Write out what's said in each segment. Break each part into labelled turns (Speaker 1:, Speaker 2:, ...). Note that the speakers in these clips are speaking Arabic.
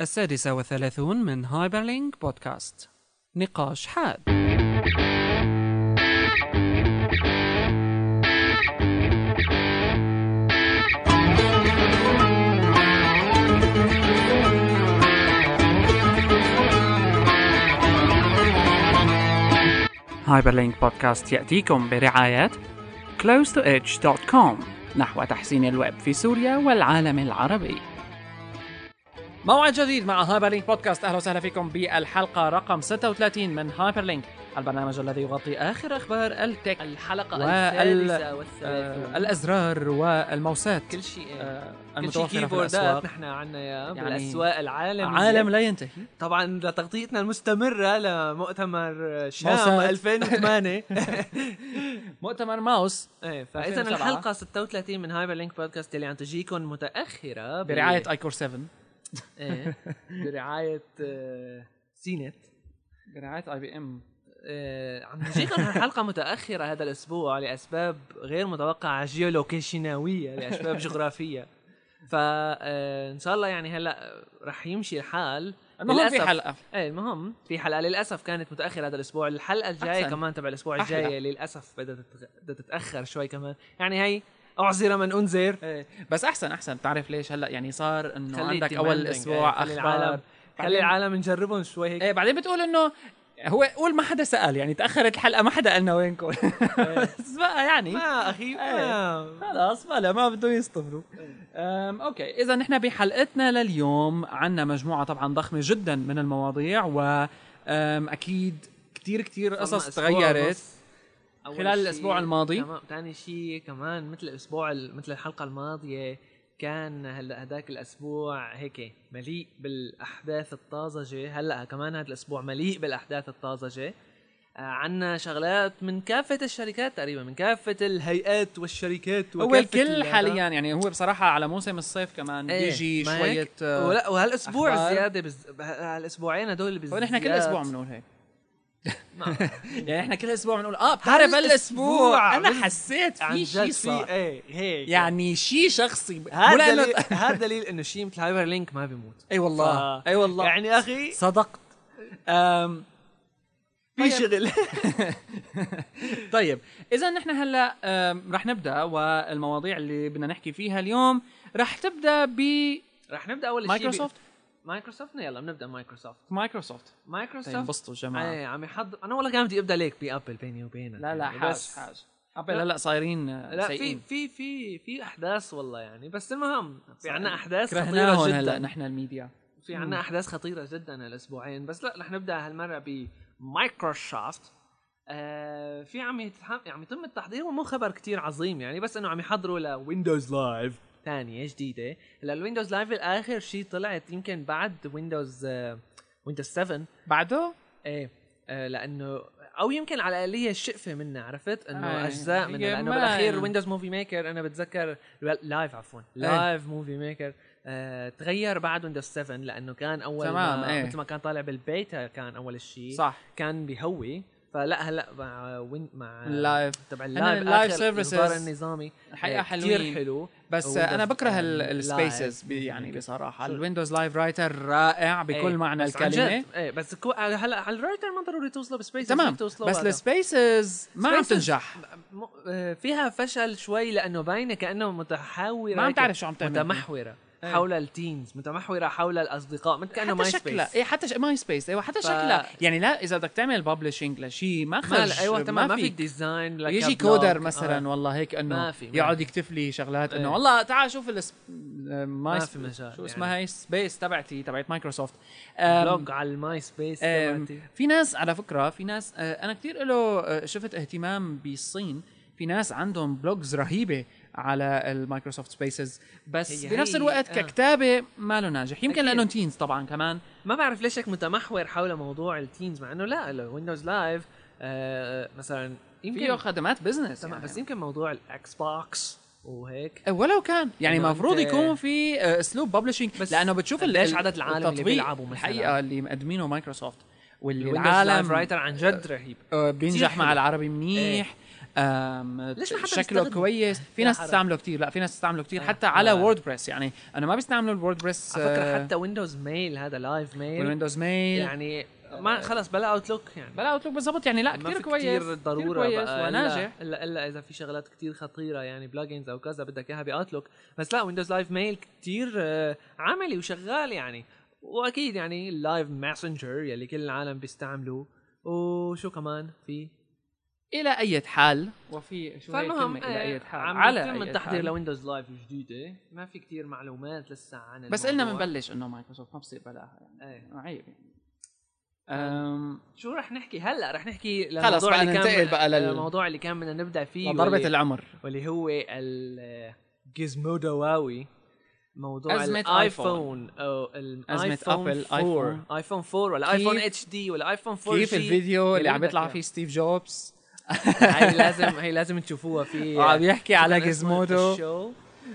Speaker 1: السادسة والثلاثون من هايبرلينك بودكاست نقاش حاد هايبرلينك بودكاست يأتيكم برعاية close2edge.com نحو تحسين الويب في سوريا والعالم العربي موعد جديد مع هايبرلينك بودكاست اهلا وسهلا فيكم بالحلقه رقم 36 من هايبرلينك البرنامج الذي يغطي اخر اخبار التك
Speaker 2: الحلقة
Speaker 1: وال-
Speaker 2: الثالثة
Speaker 1: آه،
Speaker 2: والثالثة
Speaker 1: الازرار والموسات
Speaker 2: كل شيء
Speaker 1: آه،
Speaker 2: كل
Speaker 1: المتوفرة
Speaker 2: شيء
Speaker 1: في
Speaker 2: كيبوردات
Speaker 1: الأسواق.
Speaker 2: نحن عنا يا
Speaker 1: يعني
Speaker 2: بالاسواق العالمية
Speaker 1: عالم لا ينتهي
Speaker 2: طبعا لتغطيتنا المستمرة لمؤتمر شام
Speaker 1: موساد.
Speaker 2: 2008
Speaker 1: مؤتمر ماوس
Speaker 2: إيه، فاذا
Speaker 1: 2007.
Speaker 2: الحلقة 36 من هايبر لينك بودكاست اللي عم تجيكم متأخرة ب-
Speaker 1: برعايه ايكور 7
Speaker 2: إيه، برعاية آه، سينت
Speaker 1: برعايه اي بي ام
Speaker 2: آه، عم تجيكم هالحلقة متأخرة هذا الأسبوع لأسباب غير متوقعة جيولوكيشناوية لأسباب جغرافية فإن شاء الله يعني هلا رح يمشي الحال
Speaker 1: المهم في
Speaker 2: للأسف-
Speaker 1: حلقه
Speaker 2: ايه المهم في حلقة للأسف كانت متأخرة هذا الأسبوع الحلقة الجاية
Speaker 1: أحسن.
Speaker 2: كمان تبع الأسبوع
Speaker 1: أحلى.
Speaker 2: الجاي للأسف بدها تتغ- بدها تتأخر شوي كمان يعني هي أعذر من أنذر
Speaker 1: إيه، بس احسن احسن بتعرف ليش هلا يعني صار انه
Speaker 2: خلي
Speaker 1: عندك
Speaker 2: demanding،
Speaker 1: اول
Speaker 2: إيه،
Speaker 1: اسبوع
Speaker 2: خلي العالم
Speaker 1: اخبار
Speaker 2: خلي
Speaker 1: بعدين-
Speaker 2: العالم نجربهم شوي هيك
Speaker 1: ايه بعدين بتقول انه هو قول ما حدا سال يعني تاخرت الحلقه ما حدا قالنا وينكم بس بقى يعني
Speaker 2: إيه. ما آه، أخي ما
Speaker 1: خلاص بلا ما بده يصطبروا أم، اوكي اذا نحن بحلقتنا لليوم عنا مجموعه طبعا ضخمه جدا من المواضيع و أم، اكيد كتير كتير قصص
Speaker 2: أسبوع
Speaker 1: تغيرت
Speaker 2: ونص. أول
Speaker 1: خلال
Speaker 2: شي-
Speaker 1: الأسبوع الماضي.
Speaker 2: تمام ثاني شيء كمان مثل الأسبوع ال- مثل الحلقة الماضية كان هلا هداك الأسبوع هيك مليء بالأحداث الطازجة هلا كمان هذا الأسبوع مليء بالأحداث الطازجة آه، عنا شغلات من كافة الشركات تقريبا من كافة الهيئات والشركات
Speaker 1: هو
Speaker 2: وكافة
Speaker 1: الكل
Speaker 2: ال-
Speaker 1: حاليا يعني هو بصراحه على موسم الصيف كمان
Speaker 2: إيه،
Speaker 1: بيجي
Speaker 2: ما
Speaker 1: شويه
Speaker 2: هيك؟
Speaker 1: أه،
Speaker 2: ولا وهالاسبوع
Speaker 1: أخبار.
Speaker 2: زياده بز... هالاسبوعين هدول نعم. بالزياده
Speaker 1: ونحن كل اسبوع بنقول هيك
Speaker 2: ما بعرف.
Speaker 1: يعني احنا كل اسبوع بنقول اه بتعرف هالاسبوع
Speaker 2: هالأسبوع
Speaker 1: انا
Speaker 2: بال-
Speaker 1: حسيت
Speaker 2: عن
Speaker 1: في
Speaker 2: جد
Speaker 1: شيء
Speaker 2: في
Speaker 1: صار
Speaker 2: ايه هيك
Speaker 1: يعني شيء شخصي مو
Speaker 2: هذا
Speaker 1: لأنه-
Speaker 2: دليل هذا دليل انه شيء مثل هايبر لينك ما بيموت
Speaker 1: اي والله
Speaker 2: ف-
Speaker 1: اي والله
Speaker 2: يعني اخي
Speaker 1: صدقت أم
Speaker 2: في شغل
Speaker 1: طيب اذا نحن هلا آم، رح نبدا والمواضيع اللي بدنا نحكي فيها اليوم رح تبدا ب
Speaker 2: رح نبدا اول شيء
Speaker 1: مايكروسوفت
Speaker 2: مايكروسوفت يلا بنبدا مايكروسوفت
Speaker 1: مايكروسوفت
Speaker 2: مايكروسوفت
Speaker 1: انبسطوا جماعه
Speaker 2: ايه عم يحضر انا والله كان بدي ابدا ليك بابل بيني وبينك
Speaker 1: لا لا
Speaker 2: يعني
Speaker 1: حاج
Speaker 2: بس-
Speaker 1: حاج قبل هلا صايرين آه،
Speaker 2: لا في
Speaker 1: سيئين
Speaker 2: في في في احداث والله يعني بس المهم يعني في عنا احداث خطيره
Speaker 1: كرهناهم هلا
Speaker 2: جدا
Speaker 1: نحن الميديا
Speaker 2: في عنا احداث خطيره جدا هالاسبوعين بس لا رح نبدا هالمره بمايكروسوفت آه في عم يتح... عم يتم التحضير ومو خبر كتير عظيم يعني بس انه عم يحضروا لويندوز لايف ثانيه جديده هلا الويندوز لايف الاخر شيء طلعت يمكن بعد ويندوز آه ويندوز 7
Speaker 1: بعده
Speaker 2: ايه آه لانه او يمكن على الاقليه الشقفه منها عرفت انه
Speaker 1: آه،
Speaker 2: آه اجزاء منها
Speaker 1: هي
Speaker 2: لانه
Speaker 1: ما- يعني.
Speaker 2: بالاخير ويندوز موفي ميكر انا بتذكر لايف عفوا
Speaker 1: إيه.
Speaker 2: لايف موفي ميكر آه تغير بعد ويندوز 7 لانه كان اول
Speaker 1: تمام،
Speaker 2: ما
Speaker 1: إيه.
Speaker 2: مثل ما كان طالع بالبيتا كان اول شيء
Speaker 1: صح
Speaker 2: كان بيهوي فلا هلا مع وين
Speaker 1: آه.
Speaker 2: مع
Speaker 1: اللايف.
Speaker 2: تبع
Speaker 1: أنا اللايف
Speaker 2: اللايف آخر
Speaker 1: services
Speaker 2: النظام النظامي
Speaker 1: الحقيقة
Speaker 2: آه،
Speaker 1: حلوين.
Speaker 2: كتير حلو
Speaker 1: بس
Speaker 2: Windows
Speaker 1: آه، انا بكره
Speaker 2: Live.
Speaker 1: السبيسز يعني بصراحه الويندوز لايف رايتر رائع بكل
Speaker 2: إيه،
Speaker 1: معنى
Speaker 2: بس عن جد،
Speaker 1: الكلمه
Speaker 2: ايه بس كو... هلا على الرايتر ما ضروري توصله بسبيس
Speaker 1: تمام بس السبيسز ما عم
Speaker 2: Spaces
Speaker 1: تنجح
Speaker 2: م- آه، فيها فشل شوي لانه باينه كانه متحاوره
Speaker 1: ما عم
Speaker 2: هيك
Speaker 1: تعرف شو عم تعمل.
Speaker 2: متمحوره
Speaker 1: إيه.
Speaker 2: حول التينز متمحوره حول الاصدقاء مثل كانه
Speaker 1: حتى
Speaker 2: ماي
Speaker 1: شكلها
Speaker 2: سبيس
Speaker 1: ايه حتى ش... ماي سبيس ايوه حتى شكلها يعني لا اذا بدك تعمل ببلشنج لشيء إيه، ما خرج
Speaker 2: ما ايوه تمام ما في
Speaker 1: فيك.
Speaker 2: ديزاين لك
Speaker 1: يجي
Speaker 2: كبلوج.
Speaker 1: كودر
Speaker 2: آه،
Speaker 1: مثلا والله هيك انه
Speaker 2: ما في- ما
Speaker 1: يقعد
Speaker 2: في.
Speaker 1: يكتب لي شغلات انه
Speaker 2: إيه.
Speaker 1: والله تعال شوف الس... ماي
Speaker 2: ما في مجال
Speaker 1: شو
Speaker 2: يعني.
Speaker 1: اسمها هي سبيس تبعتي تبعت مايكروسوفت
Speaker 2: بلوج على الماي سبيس
Speaker 1: أم،
Speaker 2: تبعتي
Speaker 1: في ناس على فكره في ناس آه، انا كثير له آه، شفت اهتمام بالصين في ناس عندهم بلوجز رهيبه على المايكروسوفت سبيسز بس
Speaker 2: هي-
Speaker 1: بنفس
Speaker 2: هي-
Speaker 1: الوقت
Speaker 2: آه.
Speaker 1: ككتابه ما له ناجح يمكن
Speaker 2: أكيد.
Speaker 1: لانه تينز طبعا كمان
Speaker 2: ما بعرف ليش هيك متمحور حول موضوع التينز مع انه لا ويندوز لايف مثلا
Speaker 1: فيه
Speaker 2: آه، يمكن
Speaker 1: خدمات بزنس
Speaker 2: تمام
Speaker 1: يعني.
Speaker 2: بس يمكن موضوع الاكس بوكس وهيك
Speaker 1: ولو كان يعني
Speaker 2: إنه
Speaker 1: المفروض
Speaker 2: أنت-
Speaker 1: يكون في آه، اسلوب ببلشنج
Speaker 2: بس
Speaker 1: لانه بتشوف ال-
Speaker 2: قديش
Speaker 1: ال-
Speaker 2: عدد العالم اللي
Speaker 1: التطبيق
Speaker 2: بيلعبوا مثلاً؟
Speaker 1: الحقيقه اللي مقدمينه مايكروسوفت واللي
Speaker 2: الويندوز لايف
Speaker 1: العالم
Speaker 2: رايتر عن جد رهيب
Speaker 1: آه،
Speaker 2: كتير
Speaker 1: بينجح
Speaker 2: حلو. إيه.
Speaker 1: مع العربي منيح آم،
Speaker 2: ليش ما حدا
Speaker 1: شكله
Speaker 2: بيستخدمه؟
Speaker 1: كويس في
Speaker 2: يا
Speaker 1: ناس
Speaker 2: حرام.
Speaker 1: تستعمله كتير لا في ناس تستعمله كتير
Speaker 2: آه،
Speaker 1: حتى على
Speaker 2: حرام.
Speaker 1: ووردبريس يعني انا ما بيستعملوا الووردبريس
Speaker 2: على فكره حتى ويندوز ميل هذا لايف ميل
Speaker 1: ويندوز ميل
Speaker 2: يعني ما خلص بلا اوتلوك يعني
Speaker 1: بلا اوتلوك بالضبط يعني لا
Speaker 2: ما
Speaker 1: كثير
Speaker 2: في
Speaker 1: كويس
Speaker 2: كتير
Speaker 1: كتير
Speaker 2: ضروره
Speaker 1: كويس
Speaker 2: بقى إلا-
Speaker 1: وناجح
Speaker 2: الا الا اذا في شغلات كتير خطيره يعني بلجنز او كذا بدك اياها باوتلوك بس لا ويندوز لايف ميل كتير آه، عملي وشغال يعني واكيد يعني اللايف ماسنجر يلي كل العالم بيستعملوه وشو كمان في
Speaker 1: الى اي حال وفي شو هي
Speaker 2: فالمهم
Speaker 1: كلمه
Speaker 2: آه،
Speaker 1: الى اي حال
Speaker 2: عم يتم
Speaker 1: أية
Speaker 2: التحضير
Speaker 1: حال.
Speaker 2: لويندوز لايف الجديده ما في كتير معلومات لسه عن
Speaker 1: بس قلنا
Speaker 2: الموضوع.
Speaker 1: بنبلش انه مايكروسوفت ما بصير بلاها يعني
Speaker 2: إيه. آه.
Speaker 1: عيب يعني أم،
Speaker 2: شو رح نحكي هلا رح نحكي
Speaker 1: خلص بقى
Speaker 2: للموضوع اللي كان
Speaker 1: ننتقل بقى لل-
Speaker 2: الموضوع اللي كان بدنا نبدا فيه
Speaker 1: ضربة
Speaker 2: واللي-
Speaker 1: العمر
Speaker 2: واللي هو ال جيزمودو واوي موضوع
Speaker 1: أزمة
Speaker 2: الايفون او الايفون
Speaker 1: أزمة أبل،
Speaker 2: 4 ايفون 4 ولا ايفون
Speaker 1: كيف-
Speaker 2: اتش دي ولا ايفون 4
Speaker 1: كيف الفيديو اللي عم يطلع
Speaker 2: يطلع
Speaker 1: فيه ستيف جوبز
Speaker 2: هي لازم هي لازم تشوفوها في
Speaker 1: وعم يحكي على
Speaker 2: كان اسمه
Speaker 1: جيزمودو
Speaker 2: الشو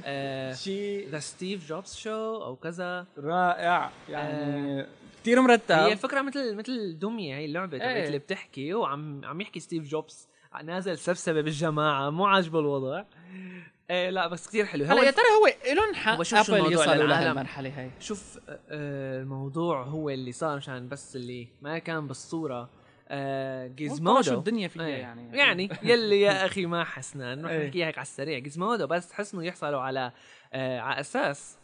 Speaker 2: آه،
Speaker 1: شيء
Speaker 2: ذا ستيف جوبز شو او كذا
Speaker 1: رائع يعني كثير مرتب
Speaker 2: هي الفكره مثل مثل دميه هي اللعبه
Speaker 1: إيه.
Speaker 2: تبعت اللي بتحكي وعم عم يحكي ستيف جوبز نازل سبسبه بالجماعه مو عاجبه الوضع إيه لا بس كثير حلو
Speaker 1: هلا يا ترى هو الهم حق
Speaker 2: هو شوف شو
Speaker 1: ابل
Speaker 2: الموضوع
Speaker 1: يوصلوا
Speaker 2: للعالم.
Speaker 1: لهالمرحله هي
Speaker 2: شوف آه، آه، الموضوع هو اللي صار مشان بس اللي ما كان بالصوره آه،
Speaker 1: شو
Speaker 2: جيزمودو
Speaker 1: الدنيا فيها
Speaker 2: إيه.
Speaker 1: يعني
Speaker 2: يعني يلي يا اخي ما حسنا نروح
Speaker 1: إيه.
Speaker 2: نحكي هيك على السريع جيزمودو بس حسنوا يحصلوا على آه، على اساس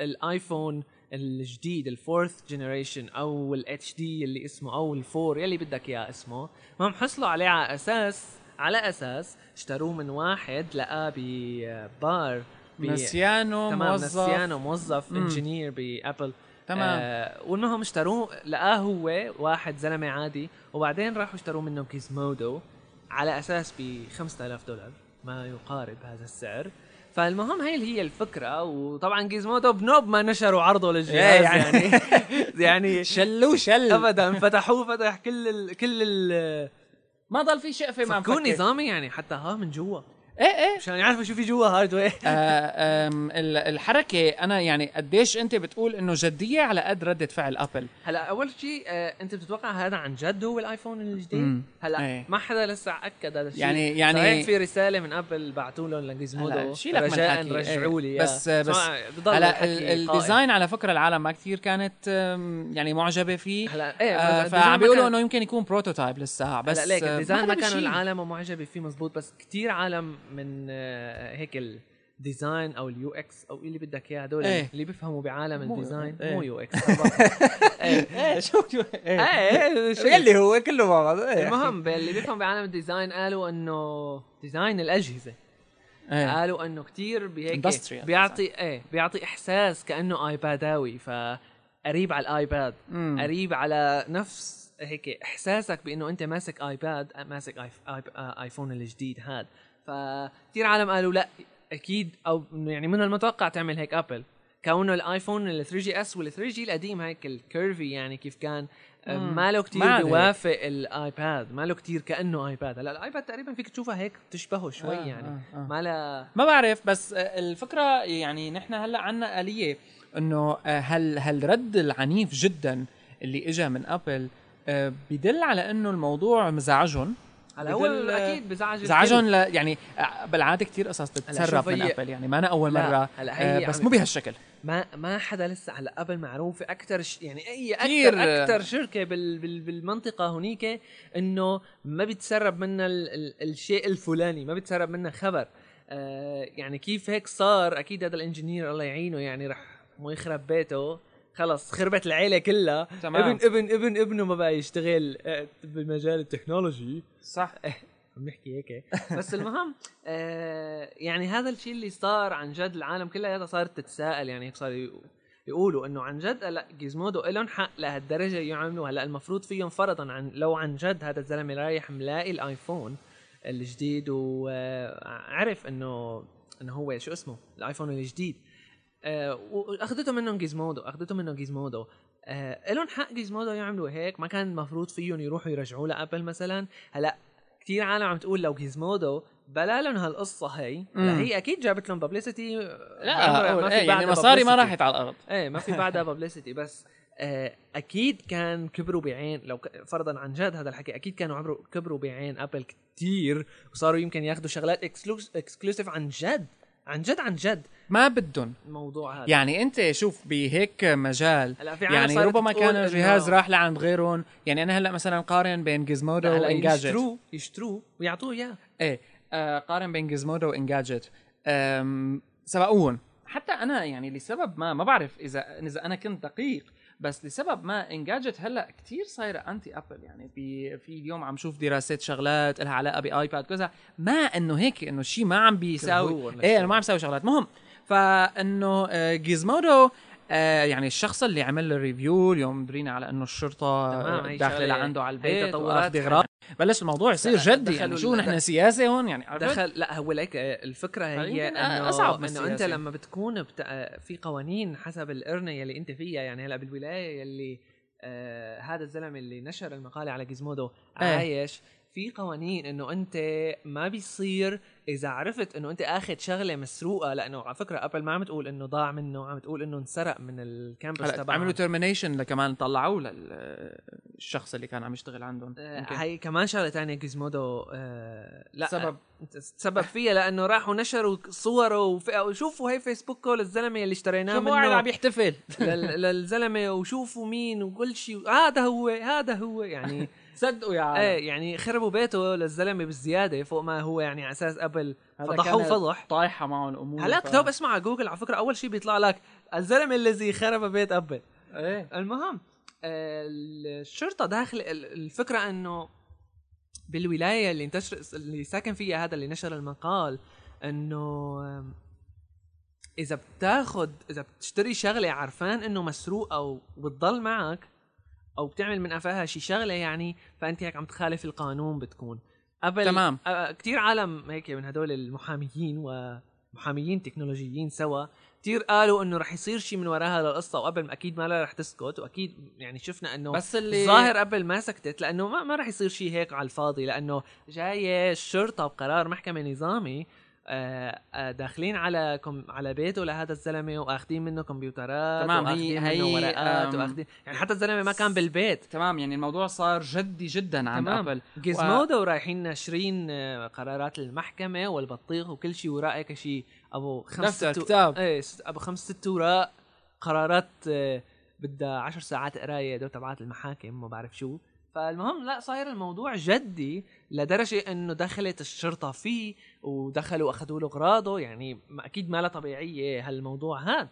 Speaker 2: الايفون الجديد الفورث جنريشن او الاتش دي اللي اسمه او الفور يلي بدك اياه اسمه هم حصلوا عليه على اساس على اساس اشتروه من واحد آه، لقاه ببار ب-
Speaker 1: نسيانو
Speaker 2: تمام
Speaker 1: موظف
Speaker 2: نسيانه موظف
Speaker 1: مم.
Speaker 2: انجينير بابل
Speaker 1: تمام.
Speaker 2: آه والمهم اشتروه لقاه هو واحد زلمه عادي وبعدين راحوا اشتروه منه كيزمودو على اساس ب 5000 دولار ما يقارب هذا السعر فالمهم هي اللي هي الفكره وطبعا جيزمودو بنوب ما نشروا عرضه للجهاز
Speaker 1: إيه
Speaker 2: يعني
Speaker 1: يعني.
Speaker 2: يعني
Speaker 1: شلو شل
Speaker 2: ابدا فتحوه فتح كل ال كل ال
Speaker 1: ما ضل في شقفه ما عم
Speaker 2: فكوه
Speaker 1: فكر.
Speaker 2: نظامي يعني حتى ها من جوا
Speaker 1: ايه ايه
Speaker 2: مشان يعرفوا شو في جوا هاردوير
Speaker 1: آه، آم، ال- الحركه انا يعني قديش انت بتقول انه جديه على قد رده فعل ابل
Speaker 2: هلا اول شيء آه، انت بتتوقع هذا عن جد هو الايفون الجديد؟
Speaker 1: مم.
Speaker 2: هلا
Speaker 1: إيه.
Speaker 2: ما حدا لسه اكد هذا الشيء
Speaker 1: يعني- يعني-
Speaker 2: صحيح في رساله من ابل بعثوا لهم لجيزمودو
Speaker 1: هلا شيلك من
Speaker 2: رجاء
Speaker 1: الحكي،
Speaker 2: رجعوا لي
Speaker 1: إيه.
Speaker 2: إياه.
Speaker 1: بس- بس
Speaker 2: سمع، بضل
Speaker 1: هلا
Speaker 2: الحكي آه، إيه.
Speaker 1: ال-
Speaker 2: قائم.
Speaker 1: الديزاين على فكره العالم ما كثير كانت آم، يعني معجبه فيه
Speaker 2: هلا ايه
Speaker 1: آه،
Speaker 2: بس الديزاين ما
Speaker 1: فعم بيقولوا
Speaker 2: كان-
Speaker 1: انه يمكن يكون بروتوتايب لسه بس
Speaker 2: هلا ليك
Speaker 1: آه،
Speaker 2: الديزاين
Speaker 1: حدا
Speaker 2: ما كانوا
Speaker 1: بيشيل.
Speaker 2: العالم معجبه فيه مزبوط بس كتير عالم من آه، هيك الديزاين او اليو اكس او اللي بدك اياه هدول
Speaker 1: إيه.
Speaker 2: اللي بيفهموا بعالم
Speaker 1: مو-
Speaker 2: الديزاين
Speaker 1: إيه.
Speaker 2: مو يو اكس ايه
Speaker 1: ايه شو شو- ايه
Speaker 2: إيه، شو-
Speaker 1: يلي هو كله مع بعض إيه.
Speaker 2: المهم اللي بيفهم بعالم الديزاين قالوا انه ديزاين الاجهزه
Speaker 1: إيه.
Speaker 2: قالوا انه كتير بهيك
Speaker 1: Industrial
Speaker 2: بيعطي ايه بيعطي احساس كانه ايباداوي فقريب على الايباد
Speaker 1: مم.
Speaker 2: قريب على نفس هيك احساسك بانه انت ماسك ايباد ماسك آيف آيب آه، ايفون الجديد هذا فكثير عالم قالوا لا اكيد او إنه يعني من المتوقع تعمل هيك ابل كونه الايفون ال 3 جي اس وال 3 جي القديم هيك الكيرفي يعني كيف كان آه،
Speaker 1: مم.
Speaker 2: ما له
Speaker 1: ما
Speaker 2: كثير
Speaker 1: عاد هيك.
Speaker 2: بيوافق الايباد ما له كثير كانه ايباد هلا الايباد تقريبا فيك تشوفها هيك تشبهه شوي
Speaker 1: آه،
Speaker 2: يعني
Speaker 1: آه، آه.
Speaker 2: ما لها
Speaker 1: ما بعرف بس آه، الفكره يعني نحن هلا عنا آلية انه آه، هل هالرد العنيف جدا اللي اجى من ابل آه، بدل على انه الموضوع مزعجهم
Speaker 2: هلا هو
Speaker 1: بدل-
Speaker 2: اكيد بزعج
Speaker 1: زعجهم ل... يعني آه، بالعاده كتير قصص
Speaker 2: شوف
Speaker 1: تتسرب من
Speaker 2: هي-
Speaker 1: ابل يعني ما انا اول
Speaker 2: لا،
Speaker 1: مره
Speaker 2: هلا هي
Speaker 1: آه، بس
Speaker 2: عم-
Speaker 1: مو بهالشكل
Speaker 2: ما ما حدا لسه هلا ابل معروفه اكثر ش... يعني اي
Speaker 1: كتير-
Speaker 2: اكثر اكثر شركه بال... بال... بالمنطقه هنيك انه ما بيتسرب منها ال... ال... الشيء الفلاني ما بيتسرب منها خبر آه يعني كيف هيك صار اكيد هذا الانجينير الله يعينه يعني رح مو يخرب بيته خلص خربت العيله كلها
Speaker 1: تمام.
Speaker 2: ابن ابن ابن ابنه ما بقى يشتغل آه، بمجال التكنولوجي
Speaker 1: صح
Speaker 2: عم نحكي هيك بس المهم آه يعني هذا الشيء اللي صار عن جد العالم كلها هذا صارت تتساءل يعني هيك صار يق- يقولوا انه عن جد هلا جيزمودو لهم حق لهالدرجه يعملوا هلا المفروض فيهم فرضا عن لو عن جد هذا الزلمه رايح ملاقي الايفون الجديد وعرف انه انه هو شو اسمه الايفون الجديد آه، واخذته منهم جيزمودو اخذته منهم جيزمودو آه لهم حق جيزمودو يعملوا هيك ما كان المفروض فيهم يروحوا يرجعوه لابل مثلا هلا كثير عالم عم تقول لو جيزمودو بلا لهم هالقصه هي هلا
Speaker 1: مم.
Speaker 2: هي اكيد جابت لهم ببليستي
Speaker 1: لا أقول إيه يعني آه، مصاري ما راحت على الارض
Speaker 2: ايه ما في بعدها ببليستي بس آه، اكيد كان كبروا بعين لو ك- فرضا عن جد هذا الحكي اكيد كانوا عبروا كبروا بعين ابل كتير وصاروا يمكن ياخذوا شغلات اكسكلوسيف عن جد عن جد عن جد
Speaker 1: ما بدهم
Speaker 2: الموضوع هذا
Speaker 1: يعني انت شوف بهيك مجال
Speaker 2: هلا في عالم
Speaker 1: يعني
Speaker 2: صارت
Speaker 1: ربما
Speaker 2: تقول
Speaker 1: كان
Speaker 2: إنه-
Speaker 1: الجهاز راح لعند غيرهم يعني انا هلا مثلا قارن بين جيزمودو
Speaker 2: هلا
Speaker 1: وانجاجت
Speaker 2: يشتروه يشتروه ويعطوه اياه
Speaker 1: ايه آه قارن بين جيزمودو وانجاجت آم، سبقوهم حتى انا يعني لسبب ما ما بعرف اذا اذا انا كنت دقيق بس لسبب ما انجاجت هلا كتير صايره انتي ابل يعني بي في اليوم عم شوف دراسات شغلات لها علاقه بايباد كذا ما انه هيك انه شيء ما عم
Speaker 2: كرهوه
Speaker 1: بيساوي
Speaker 2: ولا
Speaker 1: ايه
Speaker 2: شيء.
Speaker 1: انه ما عم بيساوي شغلات مهم فانه آه، جيزمودو آه، يعني الشخص اللي عمل الريفيو اليوم درينا على انه الشرطه
Speaker 2: تمام،
Speaker 1: آه،
Speaker 2: هي
Speaker 1: داخله
Speaker 2: شغلة-
Speaker 1: لعنده على
Speaker 2: هي
Speaker 1: البيت
Speaker 2: تطورات يعني.
Speaker 1: وأخذ اغراض بلش الموضوع يصير
Speaker 2: دخلوا
Speaker 1: جدي يعني شو
Speaker 2: ال-
Speaker 1: نحن سياسه هون يعني عرفت؟
Speaker 2: دخل لا هو ليك آه، الفكره هي
Speaker 1: يمكن
Speaker 2: انه
Speaker 1: أصعب من
Speaker 2: انه انت
Speaker 1: السياسة.
Speaker 2: لما بتكون بت... آه، في قوانين حسب القرنه يلي انت فيها يعني هلا بالولايه يلي آه هذا الزلمه اللي نشر المقاله على جيزمودو عايش في قوانين انه انت ما بيصير اذا عرفت انه انت اخذ شغله مسروقه لانه على فكره ابل ما عم تقول انه ضاع منه عم تقول انه انسرق من الكامبس
Speaker 1: هلا
Speaker 2: تبعهم
Speaker 1: عملوا ترمينيشن لكمان طلعوه للشخص اللي كان عم يشتغل عندهم
Speaker 2: آه،
Speaker 1: يمكن.
Speaker 2: هاي كمان شغله تانية جيزمودو آه لا
Speaker 1: سبب.
Speaker 2: تسبب فيها لانه راحوا نشروا صوره وف... وشوفوا هي فيسبوكه للزلمه اللي اشتريناه
Speaker 1: شوفوا قاعد
Speaker 2: منه
Speaker 1: عم يحتفل
Speaker 2: لل... للزلمه وشوفوا مين وكل شيء هذا هو هذا هو يعني
Speaker 1: صدقوا يا عالم
Speaker 2: ايه يعني خربوا بيته للزلمه بالزياده فوق ما هو يعني على اساس قبل
Speaker 1: هذا
Speaker 2: فضحوه
Speaker 1: كان
Speaker 2: فضح
Speaker 1: طايحه معهم الامور
Speaker 2: هلاك لو بسمع على جوجل على فكره اول شيء بيطلع لك الزلمه الذي خرب بيت ابل
Speaker 1: ايه
Speaker 2: المهم آه، الشرطه داخل ال- الفكره انه بالولايه اللي انتشر اللي ساكن فيها هذا اللي نشر المقال انه آم، اذا بتاخد اذا بتشتري شغله عرفان انه مسروقه او بتضل معك او بتعمل من قفاها شي شغله يعني فانت هيك عم تخالف القانون بتكون قبل
Speaker 1: تمام.
Speaker 2: آه، كتير عالم هيك من هدول المحاميين ومحاميين تكنولوجيين سوا كتير قالوا انه رح يصير شيء من وراء هذا القصه وقبل ما اكيد ما لا رح تسكت واكيد يعني شفنا انه
Speaker 1: بس اللي
Speaker 2: الظاهر قبل ما سكتت لانه ما ما راح يصير شيء هيك على الفاضي لانه جايه الشرطه بقرار محكمه نظامي آه، آه، داخلين على كم على بيته لهذا الزلمه واخذين منه كمبيوترات
Speaker 1: تمام، هي-
Speaker 2: واخذين
Speaker 1: هي،
Speaker 2: منه ورقات
Speaker 1: أم،
Speaker 2: واخذين يعني حتى الزلمه ما كان بالبيت
Speaker 1: تمام يعني الموضوع صار جدي جدا عند
Speaker 2: تمام.
Speaker 1: ابل
Speaker 2: جيزمودو رايحين ناشرين آه، قرارات المحكمه والبطيخ وكل شيء وراء هيك شيء ابو خمس
Speaker 1: دفتر،
Speaker 2: ست-
Speaker 1: كتاب.
Speaker 2: ايه ست- ابو خمس ست وراء قرارات آه، بدها عشر ساعات قرايه دول تبعات المحاكم ما بعرف شو فالمهم لا صاير الموضوع جدي لدرجه انه دخلت الشرطه فيه ودخلوا اخذوا له اغراضه يعني ما- اكيد ما لا طبيعيه هالموضوع هذا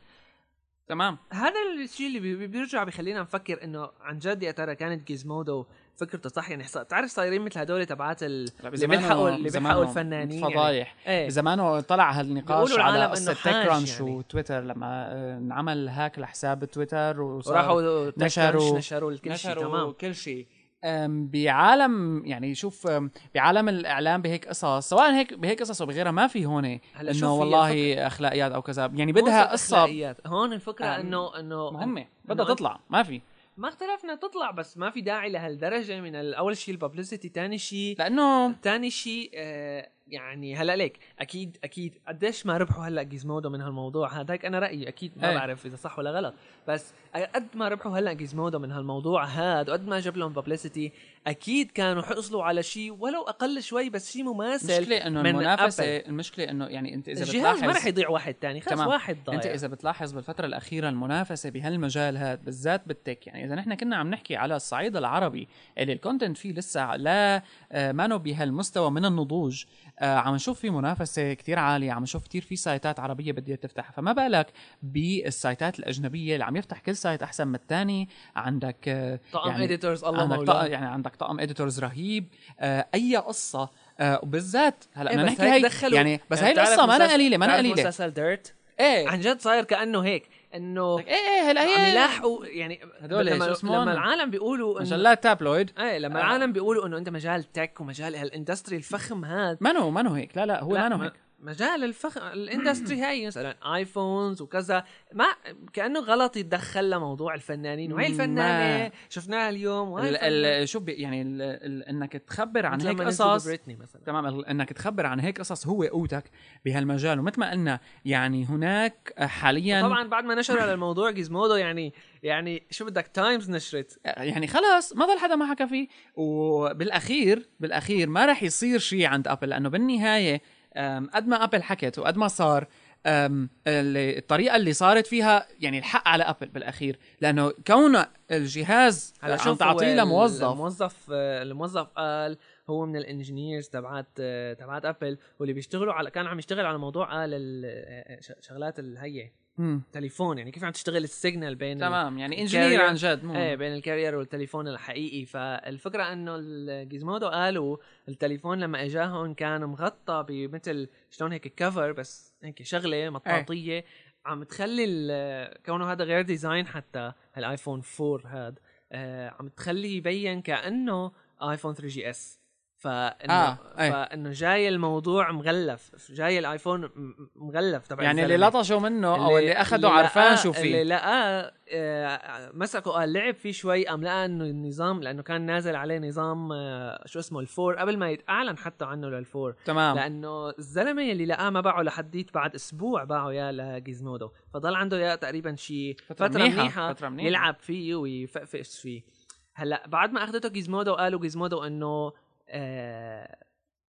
Speaker 1: تمام
Speaker 2: هذا الشيء اللي بي- بيرجع بخلينا نفكر انه عن جد يا ترى كانت جيزمودو فكرته صح يعني صار- تعرف صايرين مثل هدول تبعات ال...
Speaker 1: هلا
Speaker 2: اللي
Speaker 1: بزمانه-
Speaker 2: بيلحقوا اللي
Speaker 1: بزمانه
Speaker 2: بيلحقوا الفنانين يعني.
Speaker 1: فضايح
Speaker 2: ايه
Speaker 1: زمانه طلع هالنقاش
Speaker 2: بيقولوا
Speaker 1: على
Speaker 2: العالم
Speaker 1: قصه
Speaker 2: إنه حاج
Speaker 1: تيك رانش
Speaker 2: يعني.
Speaker 1: وتويتر لما آه، انعمل هاك لحساب تويتر وصار
Speaker 2: وراحوا تك
Speaker 1: نشروا-
Speaker 2: رانش نشروا الكل شيء
Speaker 1: نشروا
Speaker 2: تمام
Speaker 1: كل شيء أم، بعالم يعني شوف أم، بعالم الاعلام بهيك قصص سواء هيك بهيك قصص او بغيرها ما في هون
Speaker 2: هلا شوف هي
Speaker 1: انه والله
Speaker 2: الفكرة.
Speaker 1: اخلاقيات او كذا يعني
Speaker 2: مو
Speaker 1: بدها
Speaker 2: قصة
Speaker 1: قصه
Speaker 2: أخلاقيات. هون الفكره
Speaker 1: آه،
Speaker 2: انه انه
Speaker 1: مهمه
Speaker 2: إنه
Speaker 1: بدها
Speaker 2: أنت-
Speaker 1: تطلع ما في
Speaker 2: ما اختلفنا تطلع بس ما في داعي لهالدرجه من ال- اول شيء الببليستي ثاني شيء
Speaker 1: لانه
Speaker 2: تاني شيء آه يعني هلا ليك اكيد اكيد قديش ما ربحوا هلا جيزمودو من هالموضوع هذا هيك انا رايي اكيد ما
Speaker 1: إيه.
Speaker 2: بعرف اذا صح ولا غلط بس قد ما ربحوا هلا جيزمودو من هالموضوع هذا وقد ما جاب لهم ببليستي اكيد كانوا حصلوا على شيء ولو اقل شوي بس شيء مماثل
Speaker 1: المشكله انه
Speaker 2: من
Speaker 1: المنافسه
Speaker 2: أبل.
Speaker 1: المشكله انه يعني انت اذا
Speaker 2: الجهاز ما رح
Speaker 1: بتلاحظ
Speaker 2: يضيع واحد تاني خلص
Speaker 1: تمام.
Speaker 2: واحد ضايع
Speaker 1: انت اذا بتلاحظ بالفتره الاخيره المنافسه بهالمجال هذا بالذات بالتك يعني اذا نحن كنا عم نحكي على الصعيد العربي اللي الكونتنت فيه لسه لا آه، مانو بهالمستوى من النضوج آه، عم نشوف في منافسه كتير عاليه عم نشوف كتير في سايتات عربيه بدها تفتح فما بالك بالسايتات الاجنبيه اللي عم يفتح كل سايت احسن من الثاني عندك آه،
Speaker 2: طقم
Speaker 1: يعني-
Speaker 2: اديتورز طيب، الله
Speaker 1: عندك طقم
Speaker 2: مولاه
Speaker 1: يعني عندك طقم اديتورز رهيب آه، اي قصه آه، وبالذات هلا
Speaker 2: إيه،
Speaker 1: بدنا
Speaker 2: بس
Speaker 1: نحكي
Speaker 2: هيك
Speaker 1: هي
Speaker 2: دخلوا-
Speaker 1: يعني بس هي
Speaker 2: يعني بتعرف
Speaker 1: القصه ما انا
Speaker 2: مسلسل-
Speaker 1: قليله ما انا
Speaker 2: بتعرف
Speaker 1: قليله
Speaker 2: مسلسل ديرت
Speaker 1: ايه
Speaker 2: عن جد صاير كانه هيك انه
Speaker 1: ايه ايه هلا
Speaker 2: عم
Speaker 1: هي
Speaker 2: يلاحقوا يعني
Speaker 1: هدول شو
Speaker 2: لما,
Speaker 1: اسمهم؟
Speaker 2: لما العالم بيقولوا إنه-
Speaker 1: مجلات تابلويد
Speaker 2: ايه لما
Speaker 1: آه.
Speaker 2: آه. العالم بيقولوا انه انت مجال تك ومجال هالاندستري الفخم هذا
Speaker 1: ما نو ما نو هيك لا لا هو
Speaker 2: لا،
Speaker 1: ما نو
Speaker 2: ما-
Speaker 1: هيك
Speaker 2: مجال الفخ الاندستري هاي مثلا ايفونز وكذا ما كانه غلط يتدخل لموضوع الفنانين وهي
Speaker 1: ما-
Speaker 2: الفنانه شفناها اليوم وهي
Speaker 1: ال-
Speaker 2: الفنانة.
Speaker 1: ال- شو بي يعني ال- ال- انك تخبر عن
Speaker 2: مثل
Speaker 1: هيك
Speaker 2: لما نزلوا
Speaker 1: قصص
Speaker 2: بريتني مثلا
Speaker 1: تمام ال- انك تخبر عن هيك قصص هو قوتك بهالمجال ومثل ما قلنا يعني هناك حاليا
Speaker 2: طبعا بعد ما نشر على الموضوع جيزمودو يعني يعني شو بدك تايمز نشرت
Speaker 1: يعني خلاص ما ضل حدا ما حكى فيه وبالاخير بالاخير ما راح يصير شيء عند ابل لانه بالنهايه أم، قد ما ابل حكت وقد ما صار أم، اللي- الطريقه اللي صارت فيها يعني الحق على ابل بالاخير لانه كون الجهاز
Speaker 2: هلا
Speaker 1: عم
Speaker 2: شوف
Speaker 1: تعطيه
Speaker 2: هو
Speaker 1: لموظف
Speaker 2: الموظف آه، الموظف قال هو من الانجينيرز تبعت آه، تبعت ابل واللي بيشتغلوا على كان عم يشتغل على موضوع قال ال- آه، آه، ش- شغلات الهي
Speaker 1: مم.
Speaker 2: تليفون يعني كيف عم تشتغل السيجنال بين ال-
Speaker 1: تمام يعني انجينير عن جد مو
Speaker 2: ايه بين الكارير والتليفون الحقيقي فالفكره انه الجيزمودو قالوا التليفون لما اجاهم كان مغطى بمثل شلون هيك كفر بس هيك شغله
Speaker 1: إيه.
Speaker 2: مطاطيه عم تخلي ال- كونه هذا غير ديزاين حتى الايفون 4 هاد آه، عم تخلي يبين كانه ايفون 3 جي اس فانه
Speaker 1: آه،
Speaker 2: آه.
Speaker 1: إيه.
Speaker 2: فانه جاي الموضوع مغلف جاي الايفون م- م- مغلف تبع
Speaker 1: يعني اللي
Speaker 2: الزلمة.
Speaker 1: لطشوا منه او اللي اخذوا
Speaker 2: لقاه-
Speaker 1: عرفان شو
Speaker 2: اللي
Speaker 1: فيه
Speaker 2: لقاه آه، مسكه قال لعب فيه شوي قام لقى انه النظام لانه كان نازل عليه نظام آه، شو اسمه الفور قبل ما يتأعلن حتى عنه للفور
Speaker 1: تمام
Speaker 2: لانه الزلمه اللي لقاه ما باعه لحديت بعد اسبوع باعه يا لجيزمودو فضل عنده يا تقريبا شيء فتره, منيحه,
Speaker 1: فتره منيحه
Speaker 2: يلعب فيه ويفقفقس فيه هلا بعد ما اخذته جيزمودو قالوا جيزمودو انه آه